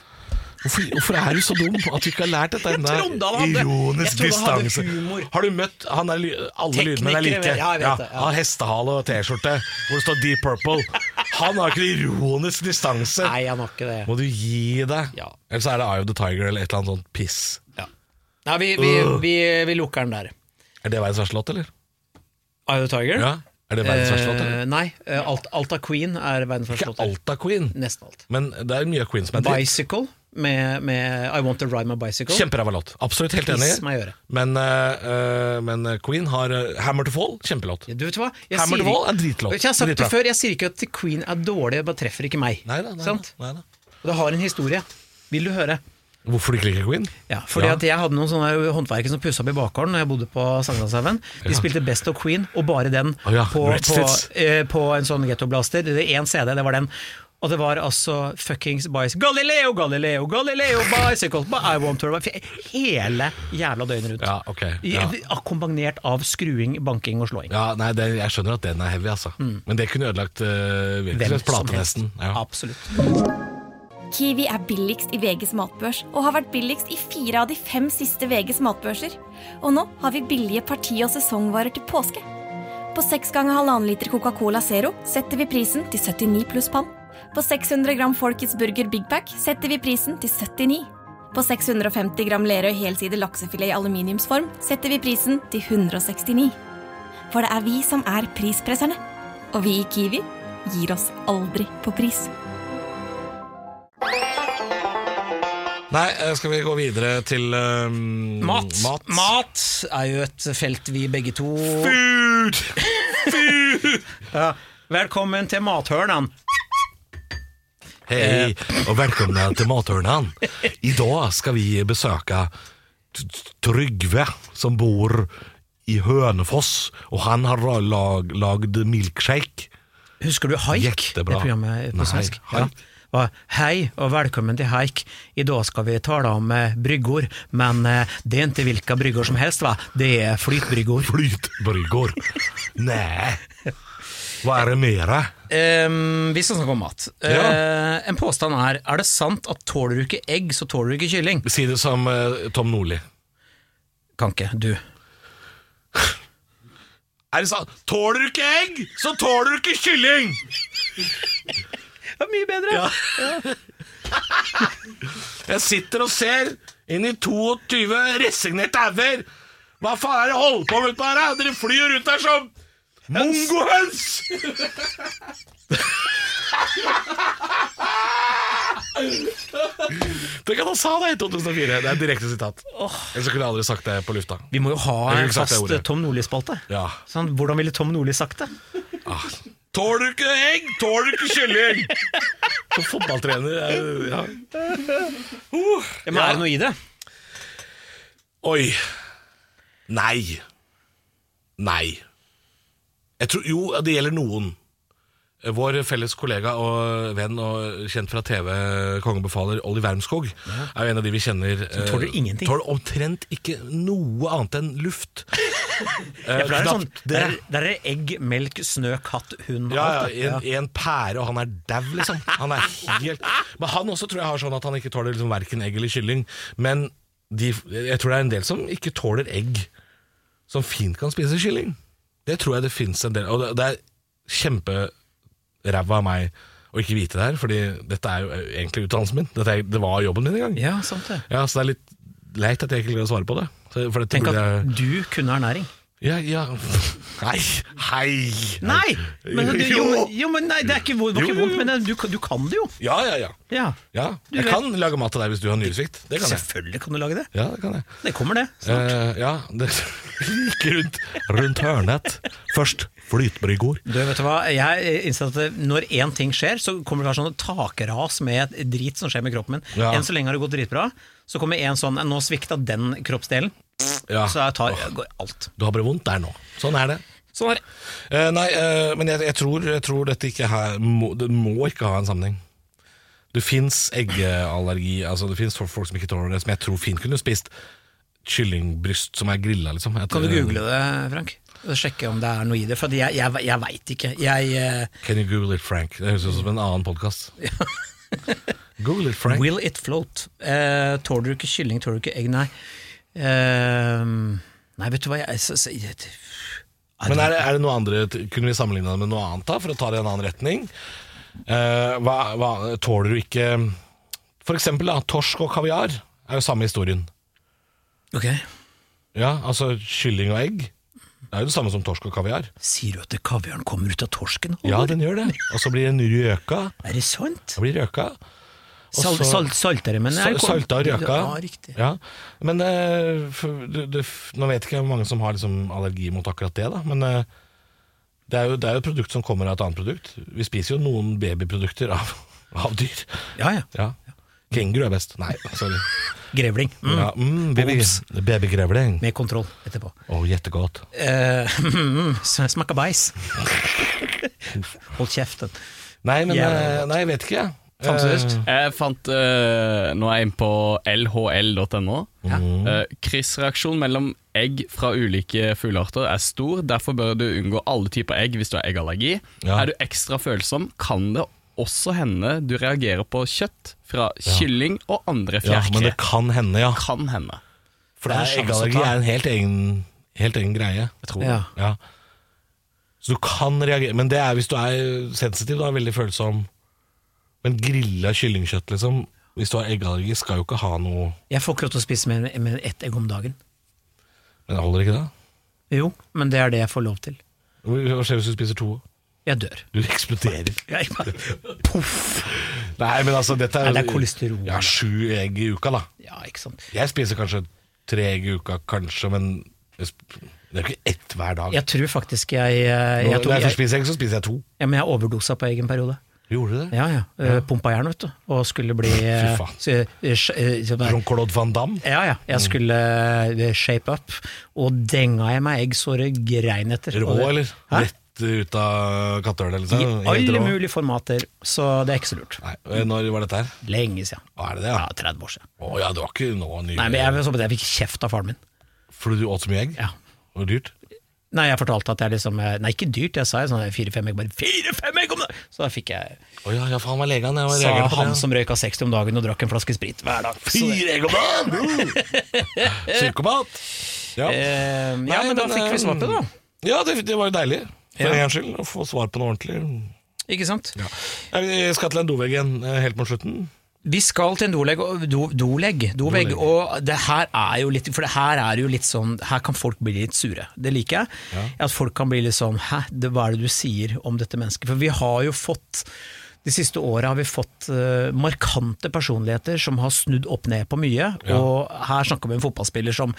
Speaker 3: Hvorfor, hvorfor er du så dum at du ikke har lært dette ennå?
Speaker 2: Jeg trodde han hadde-
Speaker 3: Ironisk
Speaker 2: jeg trodde han hadde
Speaker 3: distanse.
Speaker 2: humor.
Speaker 3: Har du møtt han er, ly- Alle
Speaker 2: Teknikere,
Speaker 3: lydmenn er like.
Speaker 2: ja, jeg vet det, ja.
Speaker 3: Han har hestehale og T-skjorte hvor det står Deep Purple. Han har ikke ironisk distanse.
Speaker 2: Nei, han har ikke det.
Speaker 3: Må du gi deg?
Speaker 2: Ja.
Speaker 3: Eller så er det Eye of the Tiger eller et eller annet sånt piss.
Speaker 2: Nei, vi, vi, vi, vi lukker den der.
Speaker 3: Er det verdens verste låt, eller?
Speaker 2: Eye of the Tiger?
Speaker 3: Ja. Er det verdens verste låt, eller?
Speaker 2: Eh, nei, eh, alt, alt av Queen er verdens første
Speaker 3: Ikke
Speaker 2: låt.
Speaker 3: alt av Queen,
Speaker 2: Nesten alt.
Speaker 3: men det er mye av Queen som er dritt.
Speaker 2: Bicycle med, med I Want to Ride My Bicycle.
Speaker 3: Kjemperæva låt. Absolutt helt enig.
Speaker 2: Piss meg i øret.
Speaker 3: Men, eh, eh, men Queen har eh, Hammer to Fall, kjempelåt.
Speaker 2: Du vet hva? Jeg
Speaker 3: Hammer
Speaker 2: sier
Speaker 3: the Wall
Speaker 2: ikke-
Speaker 3: er dritlåt.
Speaker 2: Jeg har sagt det
Speaker 3: Dritbra.
Speaker 2: før, jeg sier ikke at Queen er dårlig, det bare treffer ikke meg.
Speaker 3: Nei da, nei,
Speaker 2: Sant?
Speaker 3: da, nei da.
Speaker 2: Og det har en historie. Vil du høre?
Speaker 3: Hvorfor du ikke liker Queen?
Speaker 2: Ja, fordi
Speaker 3: Ja.
Speaker 2: at Jeg hadde noen sånne håndverkere som pussa opp i bakgården Når jeg bodde på Sankthanshaugen. De
Speaker 3: Ja.
Speaker 2: spilte Best of Queen, og bare den,
Speaker 3: Å ja,
Speaker 2: på,
Speaker 3: Red
Speaker 2: på,
Speaker 3: Stitz.
Speaker 2: eh, på en sånn gettoblaster. Det er én CD, det var den. Og det var altså fuckings Bice Galileo, Galileo, Galileo, Bicycle but I want to ride Hele jævla døgnet rundt.
Speaker 3: Ja, ok. Ja.
Speaker 2: I- Akkompagnert av skruing, banking og slåing.
Speaker 3: Ja, nei, det, Jeg skjønner at den er heavy, altså.
Speaker 2: Mm.
Speaker 3: Men det kunne ødelagt uh, virkelig et plate, nesten. Ja.
Speaker 2: Absolutt.
Speaker 5: Kiwi er billigst i VGs matbørs og har vært billigst i fire av de fem siste VGs matbørser. Og nå har vi billige parti- og sesongvarer til påske. På 6 ganger 1,5 liter Coca-Cola Zero setter vi prisen til 79 pluss pann. På 600 gram Folkets Burger Big Pack setter vi prisen til 79. På 650 gram Lerøy helside laksefilet i aluminiumsform setter vi prisen til 169. For det er vi som er prispresserne. Og vi i Kiwi gir oss aldri på pris.
Speaker 3: Nei, eh, skal vi gå videre til ehm,
Speaker 2: Mat.
Speaker 3: mat.
Speaker 2: Mat er jo et felt vi begge to
Speaker 3: Food!
Speaker 2: ja. Velkommen til mathørnen.
Speaker 3: Hei, og velkomna til Mathörnan. I dag skal vi besøke T- Trygve, som bor i Hønefoss. Og han har da lag, lagd milkshake.
Speaker 2: Husker du Haik?
Speaker 3: Jettebra.
Speaker 2: Det programmet på
Speaker 3: Nei,
Speaker 2: svensk. Ja.
Speaker 3: Haik.
Speaker 2: Og Hei og velkommen til Haik. I dag skal vi tale om eh, bryggor, men eh, det er ikke hvilke bryggor som helst, va? Det er flytbryggor.
Speaker 3: Flytbryggor. Nei. Hva er det mere?
Speaker 2: Ehm, vi skal snakke om mat.
Speaker 3: Ja.
Speaker 2: Eh, en påstand er er det sant at tåler du ikke egg, så tåler du ikke kylling.
Speaker 3: Si det som eh, Tom Nordli.
Speaker 2: Kan ikke du.
Speaker 3: Er det sant? Tåler du ikke egg, så tåler du ikke kylling!
Speaker 2: Ja, mye bedre.
Speaker 3: Jeg sitter og ser inn i 22 resignerte hauger. Hva faen er det dere holder på med utpå her? da? Dere flyr rundt her som mongohøns! Tenk at han sa det i 2004. Det er et direkte sitat. Ellers så kunne jeg aldri sagt det på lufta.
Speaker 2: Vi må jo ha
Speaker 3: Jeg kunne
Speaker 2: en
Speaker 3: ikke sagt
Speaker 2: fast
Speaker 3: det
Speaker 2: eh,
Speaker 3: ordet.
Speaker 2: Tom Nordli-spalte.
Speaker 3: Ja. ah.
Speaker 2: Sånn, hvordan ville Tom Nordli sagt det?
Speaker 3: Tåler du ikke egg, tåler du ikke kylling! Som fotballtrener jeg- ja.
Speaker 2: Ja, men Er det noe i det?
Speaker 3: Oi. Nei. Nei. Jeg tror, jo, det gjelder noen. Vår felles kollega og venn og kjent fra TV, kongebefaler Olli Wermskog, er jo en av de vi kjenner eh,
Speaker 2: tåler ingenting.
Speaker 3: Tåler omtrent ikke noe annet enn luft. Eh,
Speaker 2: Ja, for der er det sånn,
Speaker 3: knapt-
Speaker 2: der, er- der er det egg, melk, snø, katt, hund og
Speaker 3: ja,
Speaker 2: alt. da.
Speaker 3: ja, en, en pære, og han er dau, liksom. Han er helt Men han også tror jeg har sånn at han ikke tåler liksom verken egg eller kylling. Men de, jeg tror det er en del som ikke tåler egg, som fint kan spise kylling. Det tror jeg det fins en del Og det, det er kjemperæva av meg å ikke vite det her, Fordi dette er jo egentlig utdannelsen min. Dette er, det var jobben min en gang.
Speaker 2: ja, sant det.
Speaker 3: Ja, så det er litt leit at jeg ikke greier å svare på det. Så- For dette
Speaker 2: Tenk
Speaker 3: burde
Speaker 2: at
Speaker 3: jeg
Speaker 2: du kunne ernæring.
Speaker 3: Ja, ja Hei! Hei!
Speaker 2: Nei! Men, du, jo,
Speaker 3: Jo!
Speaker 2: men- jo, men nei, det er ikke, vondt- det var ikke
Speaker 3: Jo, jo,
Speaker 2: vondt, men det- du, kan- du kan det jo.
Speaker 3: Ja, ja, ja.
Speaker 2: Ja.
Speaker 3: Ja,
Speaker 2: Du
Speaker 3: jeg
Speaker 2: vet-
Speaker 3: kan lage mat til deg hvis du har nyresvikt. Det kan jeg.
Speaker 2: Selvfølgelig kan du lage det.
Speaker 3: Ja, det kan jeg.
Speaker 2: Det kommer, det.
Speaker 3: Eh, ja, det Like rundt, rundt hørnet. Først flytbryggord.
Speaker 2: Du, vet du hva? Jeg innser at det- når én ting skjer, så kommer det til å være sånn takras med drit som skjer med kroppen min.
Speaker 3: Ja.
Speaker 2: Enn så lenge har det gått dritbra. Så kommer en sånn Nå svikta den kroppsdelen,
Speaker 3: Ja.
Speaker 2: så jeg tar går alt.
Speaker 3: Du har bare vondt der nå. Sånn er det.
Speaker 2: Sånn er det.
Speaker 3: Eh, nei, eh, men jeg, jeg, tror, jeg tror dette ikke her må, Det må ikke ha en sammenheng. Det fins eggeallergi, altså det fins folk som ikke tåler det, som jeg tror fint kunne spist kyllingbryst som er grilla, liksom. Jeg
Speaker 2: Kan du
Speaker 3: tror-
Speaker 2: google det, Frank? Og Sjekke om det er noe i det. For jeg, jeg, jeg veit ikke. Jeg eh,
Speaker 3: Can you google it, Frank? Det høres ut som en annen podkast. Google it, Frank.
Speaker 2: Will it float? Eh, tåler du ikke kylling, tåler du ikke egg? Nei. Eh, nei, vet du hva jeg, så, så, jeg
Speaker 3: Men er det, er det noe andre Kunne vi sammenligne det med noe annet da For å ta det i en annen retning Eh, hva, hva, Tåler du ikke For eksempel da Torsk og kaviar Er jo samme historien
Speaker 2: Ok.
Speaker 3: Ja, altså kylling og egg Det er jo det samme som torsk og kaviar
Speaker 2: Sier du at kaviaren kommer ut av torsken?
Speaker 3: Ja, den gjør det Og så blir den røka
Speaker 2: Er det sant?
Speaker 3: Den blir røka
Speaker 2: Sal,
Speaker 3: så-
Speaker 2: salt, saltere, men
Speaker 3: Sa-
Speaker 2: er det kom-
Speaker 3: Salta og røka
Speaker 2: Ja, riktig.
Speaker 3: Ja. Men eh, for, du, du, Nå vet ikke jeg hvor mange som har liksom, allergi mot akkurat det da. Men eh, det, er jo, det er jo et produkt som kommer av et annet produkt Vi spiser jo noen babyprodukter av, av dyr
Speaker 2: Ja, ja.
Speaker 3: ja. Kenguru er best Nei, sorry
Speaker 2: Grevling. Mm.
Speaker 3: ja, mm, baby, Babygrevling
Speaker 2: Med kontroll etterpå.
Speaker 3: Åh, jettegodt
Speaker 2: Eh, s- Smaker beis. Hold kjeften.
Speaker 3: Nei, men
Speaker 2: Jævlig
Speaker 3: eh, Nei, jeg vet ikke jeg
Speaker 2: Samtidig.
Speaker 4: Jeg fant eh, Nå er jeg inne på lhl.no.
Speaker 2: Ja.
Speaker 3: Mm.
Speaker 4: Eh, kryssreaksjon mellom egg fra ulike fuglearter er stor. Derfor bør du unngå alle typer egg hvis du har eggallergi.
Speaker 3: Ja.
Speaker 4: Er du ekstra følsom, kan det også hende du reagerer på kjøtt fra kylling og andre
Speaker 3: Eh, ja,
Speaker 4: fjærkre.
Speaker 3: men det kan hende, ja
Speaker 4: kan hende.
Speaker 3: For
Speaker 4: det
Speaker 3: det er
Speaker 4: er en sjanse å
Speaker 3: eggallergi
Speaker 4: ta.
Speaker 3: er en helt egen, helt egen greie
Speaker 4: Jeg tror.
Speaker 2: Ja.
Speaker 3: Ja. Så du kan reagere Men det er hvis du er sensitiv da, veldig følsom. Men grilla kyllingkjøtt, liksom, hvis du har eggallergi, skal jo ikke ha noe
Speaker 2: Jeg får ikke lov til å spise mer enn ett egg om dagen.
Speaker 3: Men det holder ikke det?
Speaker 2: Jo, men det er det jeg får lov til.
Speaker 3: Hva skjer hvis du spiser to?
Speaker 2: Jeg dør.
Speaker 3: Du eksploderer.
Speaker 2: Jeg bare, poff!
Speaker 3: Nei, men altså, dette er
Speaker 2: Nei, det er kolesterol.
Speaker 3: Ja, sju egg i uka, da.
Speaker 2: Ja, ikke sant.
Speaker 3: Jeg spiser kanskje tre egg i uka, kanskje, men jeg sp- det er jo ikke ett hver dag.
Speaker 2: Jeg tror faktisk jeg, eh, jeg,
Speaker 3: Når
Speaker 2: tok,
Speaker 3: jeg først
Speaker 2: jeg,
Speaker 3: spiser egg, så spiser jeg to.
Speaker 2: ja, men jeg overdosa på egg en periode.
Speaker 3: Gjorde du det?
Speaker 2: Ja, ja. Eh, Pumpa jern, vet du. Og skulle bli eh,
Speaker 3: faen. Mm.
Speaker 2: så, eh, sj- eh, sånn der-
Speaker 3: Jean-Claude Van Damme?
Speaker 2: Ja, ja. Jeg skulle eh, shape up, og denga jeg meg egg så det grein etter.
Speaker 3: Rå,
Speaker 2: Og det-
Speaker 3: eller?
Speaker 2: Hæ?
Speaker 3: Rett eh, ut av kattehullet,
Speaker 2: I
Speaker 3: liksom? Helt
Speaker 2: alle
Speaker 3: rå.
Speaker 2: mulige formater, så det er ikke så lurt.
Speaker 3: Nei, eh, Når var dette her?
Speaker 2: Lenge siden.
Speaker 3: Å, er det det, ja?
Speaker 2: Ja, 30 år siden.
Speaker 3: Å ja, det var ikke nå ny
Speaker 2: Nei, men jeg, så på det, jeg fikk kjeft av faren min.
Speaker 3: Fordi du åt så mye egg?
Speaker 2: Ja.
Speaker 3: Og dyrt?
Speaker 2: Nei, jeg fortalte at jeg liksom eh, Nei, ikke dyrt, jeg sa jo sånn fire-fem egg. Bare fire-fem egg om dagen! Så da fikk jeg
Speaker 3: Å ja, ja, faen var legen, jeg var
Speaker 2: Sa
Speaker 3: reagerte på
Speaker 2: han
Speaker 3: det, ja.
Speaker 2: som røyka 60 om dagen og drakk en flaske sprit hver dag. Så det-
Speaker 3: Fire egg om dagen! Mm. Psykopat! Ja,
Speaker 2: Eh, ja,
Speaker 3: Nei,
Speaker 2: men da
Speaker 3: men, eh,
Speaker 2: fikk vi svar på det, da.
Speaker 3: ja det, det var jo deilig. For
Speaker 2: Ja.
Speaker 3: en gangs skyld, å få svar på noe ordentlig.
Speaker 2: Ikke sant?
Speaker 3: Nei, Vi skal til en dovegg igjen, eh, helt mot slutten.
Speaker 2: Vi skal til en dolegg, og- do, dolegg, dovegg,
Speaker 3: Dolegg.
Speaker 2: og det her er jo litt For det her er jo litt sånn Her kan folk bli litt sure. Det liker jeg. At folk kan bli litt sånn Hæ, det, hva er det du sier om dette mennesket? For vi har jo fått de siste åra har vi fått eh, markante personligheter som har snudd opp ned på mye. Og her snakker vi om en fotballspiller som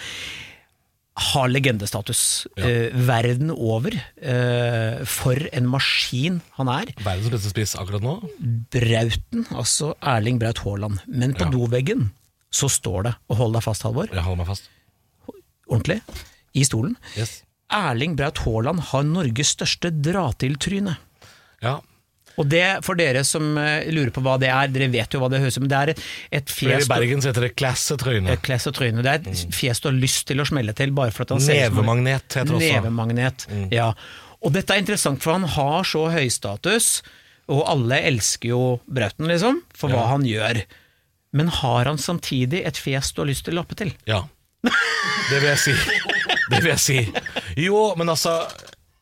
Speaker 2: har legendestatus eh, verden over. eh, for en maskin han er.
Speaker 3: Verdens beste spiss akkurat nå.
Speaker 2: Brauten, altså Erling Braut Haaland. Men på doveggen så står det, og hold deg fast Halvor,
Speaker 3: Jeg holder meg fast.
Speaker 2: ordentlig, i stolen
Speaker 3: Yes.
Speaker 2: Erling Braut Haaland har Norges største dra-til-tryne.
Speaker 3: Ja.
Speaker 2: Og det, for dere som eh, lurer på hva det er, dere vet jo hva det høres ut som, men det er et, et
Speaker 3: I
Speaker 2: fjes
Speaker 3: Bergen så heter det klassetryne.
Speaker 2: et Kles Eh, og tryne. Det er et fjes du har lyst til å smelle til, bare for at han ser ut som-
Speaker 3: Mm. Nevemagnet heter det også. Mm.
Speaker 2: Nevemagnet, ja. Og dette er interessant, for han har så høy status, og alle elsker jo Brauten, liksom, for hva han gjør. Men har han samtidig et fjes du har lyst til å lappe til?
Speaker 3: Ja. Det vil jeg si. Det vil jeg si. Jo, men altså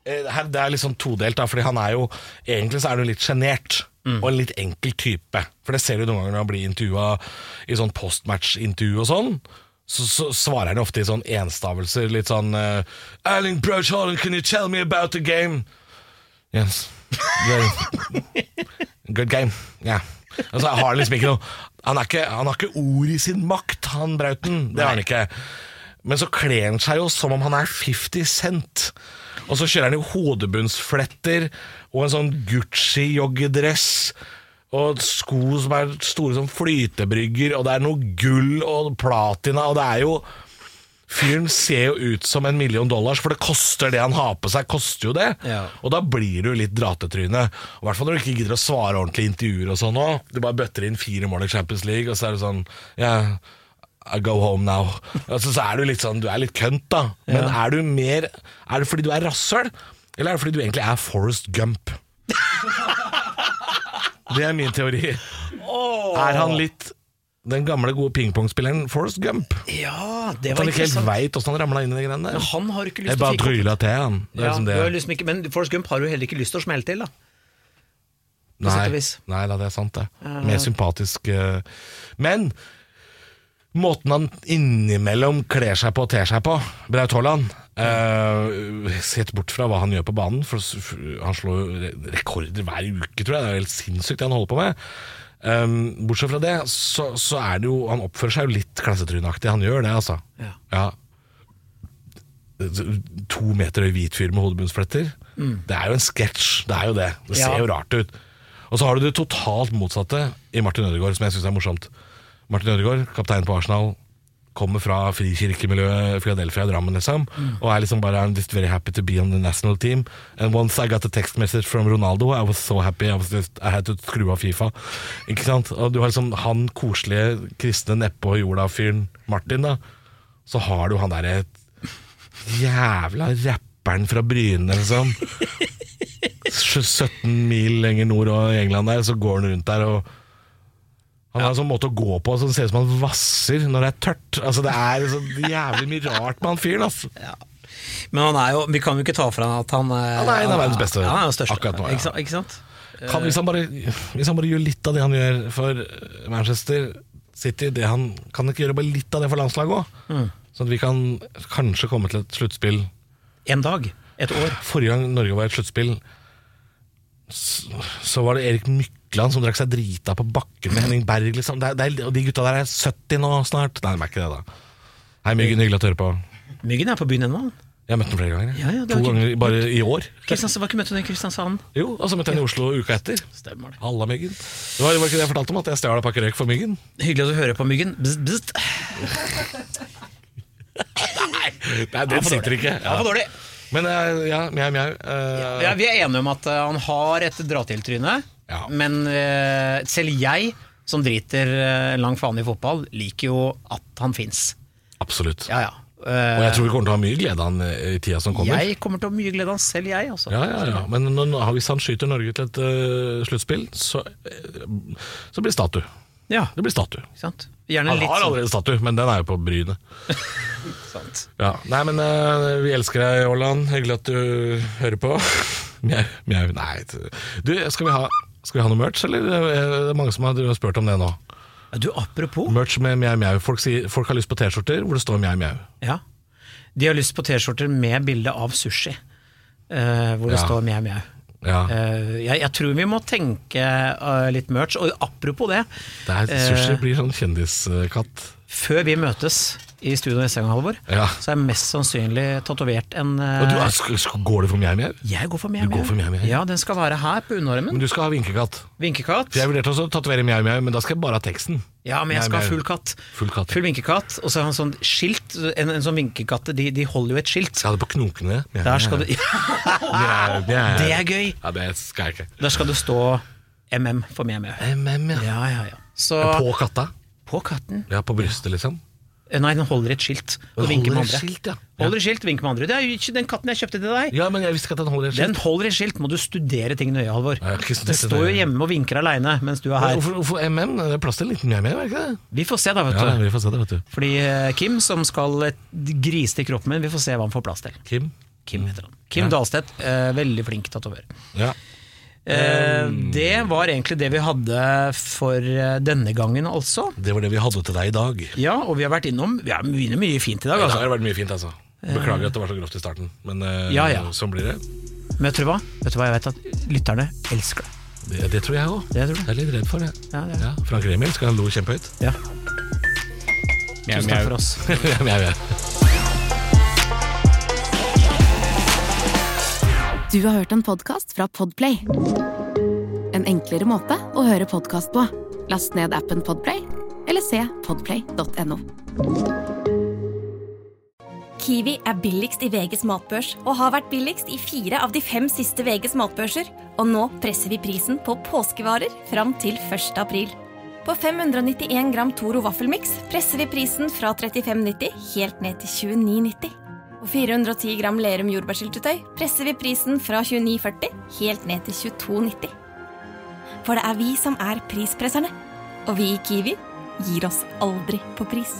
Speaker 3: eh, her, Det er liksom todelt, da, fordi han er jo Egentlig så er han jo litt sjenert. Og en litt enkel type. For det ser du noen ganger når han blir intervjua i sånn postmatch-intervju og sånn. Så, så svarer han jo ofte i sånn enstavelser, litt sånn eh, Erling Braut Haaland, can you tell me about the game? Yes. Very- Good game. Yeah. Altså, han har liksom ikke noe han, er ikke, han har ikke ord i sin makt, han Brauten. Det har han ikke. Men så kler han seg jo som om han er 50 Cent. Og så kjører han jo hodebunnsfletter og en sånn Gucci-joggedress. Og sko som er store som flytebrygger, og det er noe gull og platina, og det er jo Fyren ser jo ut som en million dollars, for det koster det han har på seg. koster jo det
Speaker 2: Ja.
Speaker 3: Og da blir du litt dratetryne. I hvert fall når du ikke gidder å svare ordentlig i intervjuer og sånn òg. Du bare bøtter inn fire mål i Champions League, og så er du sånn Ja, I go home now. Altså, så er du litt sånn Du er litt kønt, da. Men er du mer Er det fordi du er rasshøl, eller er det fordi du egentlig er Forrest Gump? Det er min teori. Er han litt den gamle, gode pingpongspilleren Forrest Gump?
Speaker 2: Ja, det
Speaker 3: At han Sånn ikke helt veit åssen han ramla inn i de greiene der.
Speaker 2: Han har ikke lyst
Speaker 3: Jeg
Speaker 2: til å
Speaker 3: bare
Speaker 2: fikle
Speaker 3: trylla til han. Det er
Speaker 2: Ja,
Speaker 3: liksom
Speaker 2: du
Speaker 3: det.
Speaker 2: har liksom ikke, men Forrest Gump har jo heller ikke lyst til å smelle til, da. på sett og
Speaker 3: Nei,
Speaker 2: vis.
Speaker 3: nei da, det er sant, det. Mer sympatisk. eh. Men måten han innimellom kler seg på og ter seg på, Braut Haaland eh, Sett bort fra hva han gjør på banen, for s- f- han slår jo re- rekorder hver uke, tror jeg. Det er jo helt sinnssykt, det han holder på med. Eh, bortsett fra det, så, så er det jo Han oppfører seg jo litt klassetryneaktig. Han gjør det, altså.
Speaker 2: Ja.
Speaker 3: ja. to meter høy hvit fyr med hodebunnsfletter. Det er jo en sketsj, det er jo det. Det ser
Speaker 2: Ja.
Speaker 3: jo rart ut. Og så har du det totalt motsatte i Martin Ødegaard, som jeg syns er morsomt. Martin Ødegaard, kaptein på Arsenal, kommer fra frikirkemiljøet Philadelphia, Drammen, liksom. Og er liksom bare I'm just very happy to be on the national team. And once I got a text message from Ronaldo, I was so happy. I, was just, I had to skru av Fifa. Ikke sant? Og du har liksom han koselige kristne nedpå jorda-fyren Martin, da. Så har du han derre jævla rapperen fra Bryne, liksom. 17 mil lenger nord og i England der, så går han rundt der og han har en sånn måte å gå på som ser ut som han vasser når det er tørt. Altså Det er så jævlig mye rart med han fyren. Altså.
Speaker 2: Men han er jo, vi kan jo ikke ta fra han at han
Speaker 3: Han er en av verdens beste
Speaker 2: Ja, han er jo størst.
Speaker 3: akkurat nå, ja.
Speaker 2: ikke, sant- ikke sant?
Speaker 3: Kan, hvis, han bare, hvis han bare gjør litt av det han gjør for Manchester City det han, Kan han ikke gjøre bare litt av det for landslaget òg? Sånn at vi kan kanskje komme til et sluttspill
Speaker 2: En dag. Et år.
Speaker 3: Forrige gang Norge var i et sluttspill, s- så var det Erik Mykland som drakk seg drita på bakken med Henning Berg. Liksom. Det er, det er, og de gutta der er 70 nå snart. Nei, de er ikke det, da. Hei, Myggen, hyggelig at du hører på.
Speaker 2: Myggen er på byen ennå. han.
Speaker 3: Jeg har møtt den flere ganger. jeg.
Speaker 2: Ja, ja, det
Speaker 3: to
Speaker 2: har ikke-
Speaker 3: ganger bare i år.
Speaker 2: Kristiansand, Var ikke møtt hun i Kristiansand?
Speaker 3: Jo, Og så møtte jeg henne i Oslo uka etter.
Speaker 2: Stemmer det.
Speaker 3: Halla, Myggen. Det var, var ikke det jeg fortalte om, at jeg stjal en pakke røyk for Myggen?
Speaker 2: Hyggelig at du hører på, Myggen. Bzz, bzz.
Speaker 3: Nei, den sitter ikke.
Speaker 2: Ja, for dårlig.
Speaker 3: Men eh, ja, mjau, mjau. eh,
Speaker 2: Ja, vi er enige om at eh, han har et dra-til-tryne,
Speaker 3: Ja.
Speaker 2: men eh, selv jeg, som driter eh, lang faen i fotball, liker jo at han fins.
Speaker 3: Absolutt.
Speaker 2: Ja, ja.
Speaker 3: Og jeg
Speaker 2: Eh,
Speaker 3: tror vi kommer til å ha mye glede av han eh, i tida som kommer.
Speaker 2: jeg kommer til å ha mye glede av han, selv jeg, altså.
Speaker 3: Ja, ja, ja. Men når, når- hvis han skyter Norge til et øh, sluttspill, så, øh, så blir det statue.
Speaker 2: Ja,
Speaker 3: Det blir statue.
Speaker 2: ikke sant? Gjerne
Speaker 3: Han
Speaker 2: litt
Speaker 3: har
Speaker 2: sånn.
Speaker 3: allerede statue, men den er jo på brynet.
Speaker 2: Sant.
Speaker 3: Ja. Nei, men øh, vi elsker deg, Aaland. Hyggelig at du hører på. Mjau, mjau. Nei Du, skal vi ha, skal vi ha noe merch, eller? Eh, Det er mange som har drevet og spurt om det nå.
Speaker 2: Ja, Du, apropos.
Speaker 3: Merch med mjau, mjau. Folk, sier, folk har lyst på T-skjorter hvor det står mjau, mjau.
Speaker 2: Ja. De har lyst på T-skjorter med bilde av sushi, eh, hvor det
Speaker 3: Ja.
Speaker 2: står mjau, mjau.
Speaker 3: Ja.
Speaker 2: Eh, jeg, jeg tror vi må tenke eh, litt merch. Og apropos det
Speaker 3: Det er, sushi blir sånn kjendiskatt.
Speaker 2: Før vi møtes i studio neste gang, Halvor,
Speaker 3: Ja.
Speaker 2: så er jeg mest sannsynlig tatovert en eh,
Speaker 3: Og du, sk- sk- går det for mjau-mjau?
Speaker 2: Jeg går for mjau,
Speaker 3: går for mjau, mjau.
Speaker 2: Ja, den skal være her på underarmen.
Speaker 3: Men du skal ha vinkekatt.
Speaker 2: Vinkekatt.
Speaker 3: For jeg vurderte også å tatovere mjau-mjau, men da skal jeg bare ha teksten.
Speaker 2: Ja, men jeg skal ha
Speaker 3: Mjau, mjau.
Speaker 2: full katt.
Speaker 3: Full katt.
Speaker 2: Full vinkekatt. Og så har han sånn skilt. En, en sånn vinkekatt, de, de holder jo et skilt.
Speaker 3: Jeg hadde på knokene. Mjau,
Speaker 2: Der skal
Speaker 3: mjau.
Speaker 2: det,
Speaker 3: Mjau, mjau.
Speaker 2: det er gøy!
Speaker 3: Ja, det skal jeg ikke.
Speaker 2: Der skal det stå MM for mjau, mjau.
Speaker 3: MM, ja.
Speaker 2: Ja, ja, ja. Så
Speaker 3: På katta?
Speaker 2: på katten
Speaker 3: Ja, på brystet, liksom.
Speaker 2: Eh, Nei, den holder et skilt og
Speaker 3: Den
Speaker 2: vinker med
Speaker 3: holder et
Speaker 2: andre.
Speaker 3: skilt, ja.
Speaker 2: Holder et skilt, vinker med andre. Det er jo ikke den katten jeg kjøpte til deg.
Speaker 3: Ja, men jeg visste ikke at den holder et
Speaker 2: Den
Speaker 3: skilt.
Speaker 2: holder et skilt, må du studere ting nøye, Halvor.
Speaker 3: Nei, jeg har ikke
Speaker 2: Den
Speaker 3: studert det
Speaker 2: står jo
Speaker 3: nøye.
Speaker 2: hjemme og vinker aleine mens du er her.
Speaker 3: Hvorfor, hvorfor MM? Det er plass til en liten mjau-mjau, er det ikke det?
Speaker 2: Vi får se, da, vet
Speaker 3: Ja,
Speaker 2: du.
Speaker 3: vi får se det, vet du.
Speaker 2: Fordi eh, Kim, som skal eh, grise til kroppen min, vi får se hva han får plass til.
Speaker 3: Kim?
Speaker 2: Kim heter han. Kim Dahlstedt, eh, veldig flink tatoverer.
Speaker 3: Ja.
Speaker 2: Eh,
Speaker 3: Um.
Speaker 2: det var egentlig det vi hadde for eh, denne gangen, altså.
Speaker 3: Det var det vi hadde til deg i dag.
Speaker 2: Ja, og vi har vært innom Vi har mye, mye fint i dag,
Speaker 3: Det
Speaker 2: altså.
Speaker 3: har vært mye fint, altså. Beklager at det var så grovt i starten, men eh,
Speaker 2: Ja, ja.
Speaker 3: sånn blir det.
Speaker 2: Men vet du hva? Vet du hva jeg vet at lytterne elsker det.
Speaker 3: Det, det tror jeg òg.
Speaker 2: Det tror jeg.
Speaker 3: Jeg er litt redd for det.
Speaker 2: Ja, det er det.
Speaker 3: Ja, Frank Remil skal han lo kjempehøyt.
Speaker 2: Ja,
Speaker 4: Mjau,
Speaker 2: tusen
Speaker 4: mjau.
Speaker 2: takk for oss.
Speaker 3: Men jeg vet.
Speaker 1: Du har hørt en podkast fra Podplay. En enklere måte å høre podkast på. Last ned appen Podplay, eller se podplay.no.
Speaker 5: Kiwi er billigst i VGs matbørs og har vært billigst i fire av de fem siste VGs matbørser. Og nå presser vi prisen på påskevarer fram til 1. april. På 591 gram Toro vaffelmiks presser vi prisen fra 35,90 helt ned til 29,90. Og 410 gram Lerum jordbærsyltetøy presser vi prisen fra 29,40 helt ned til 22,90. For det er vi som er prispresserne. Og vi i Kiwi gir oss aldri på pris.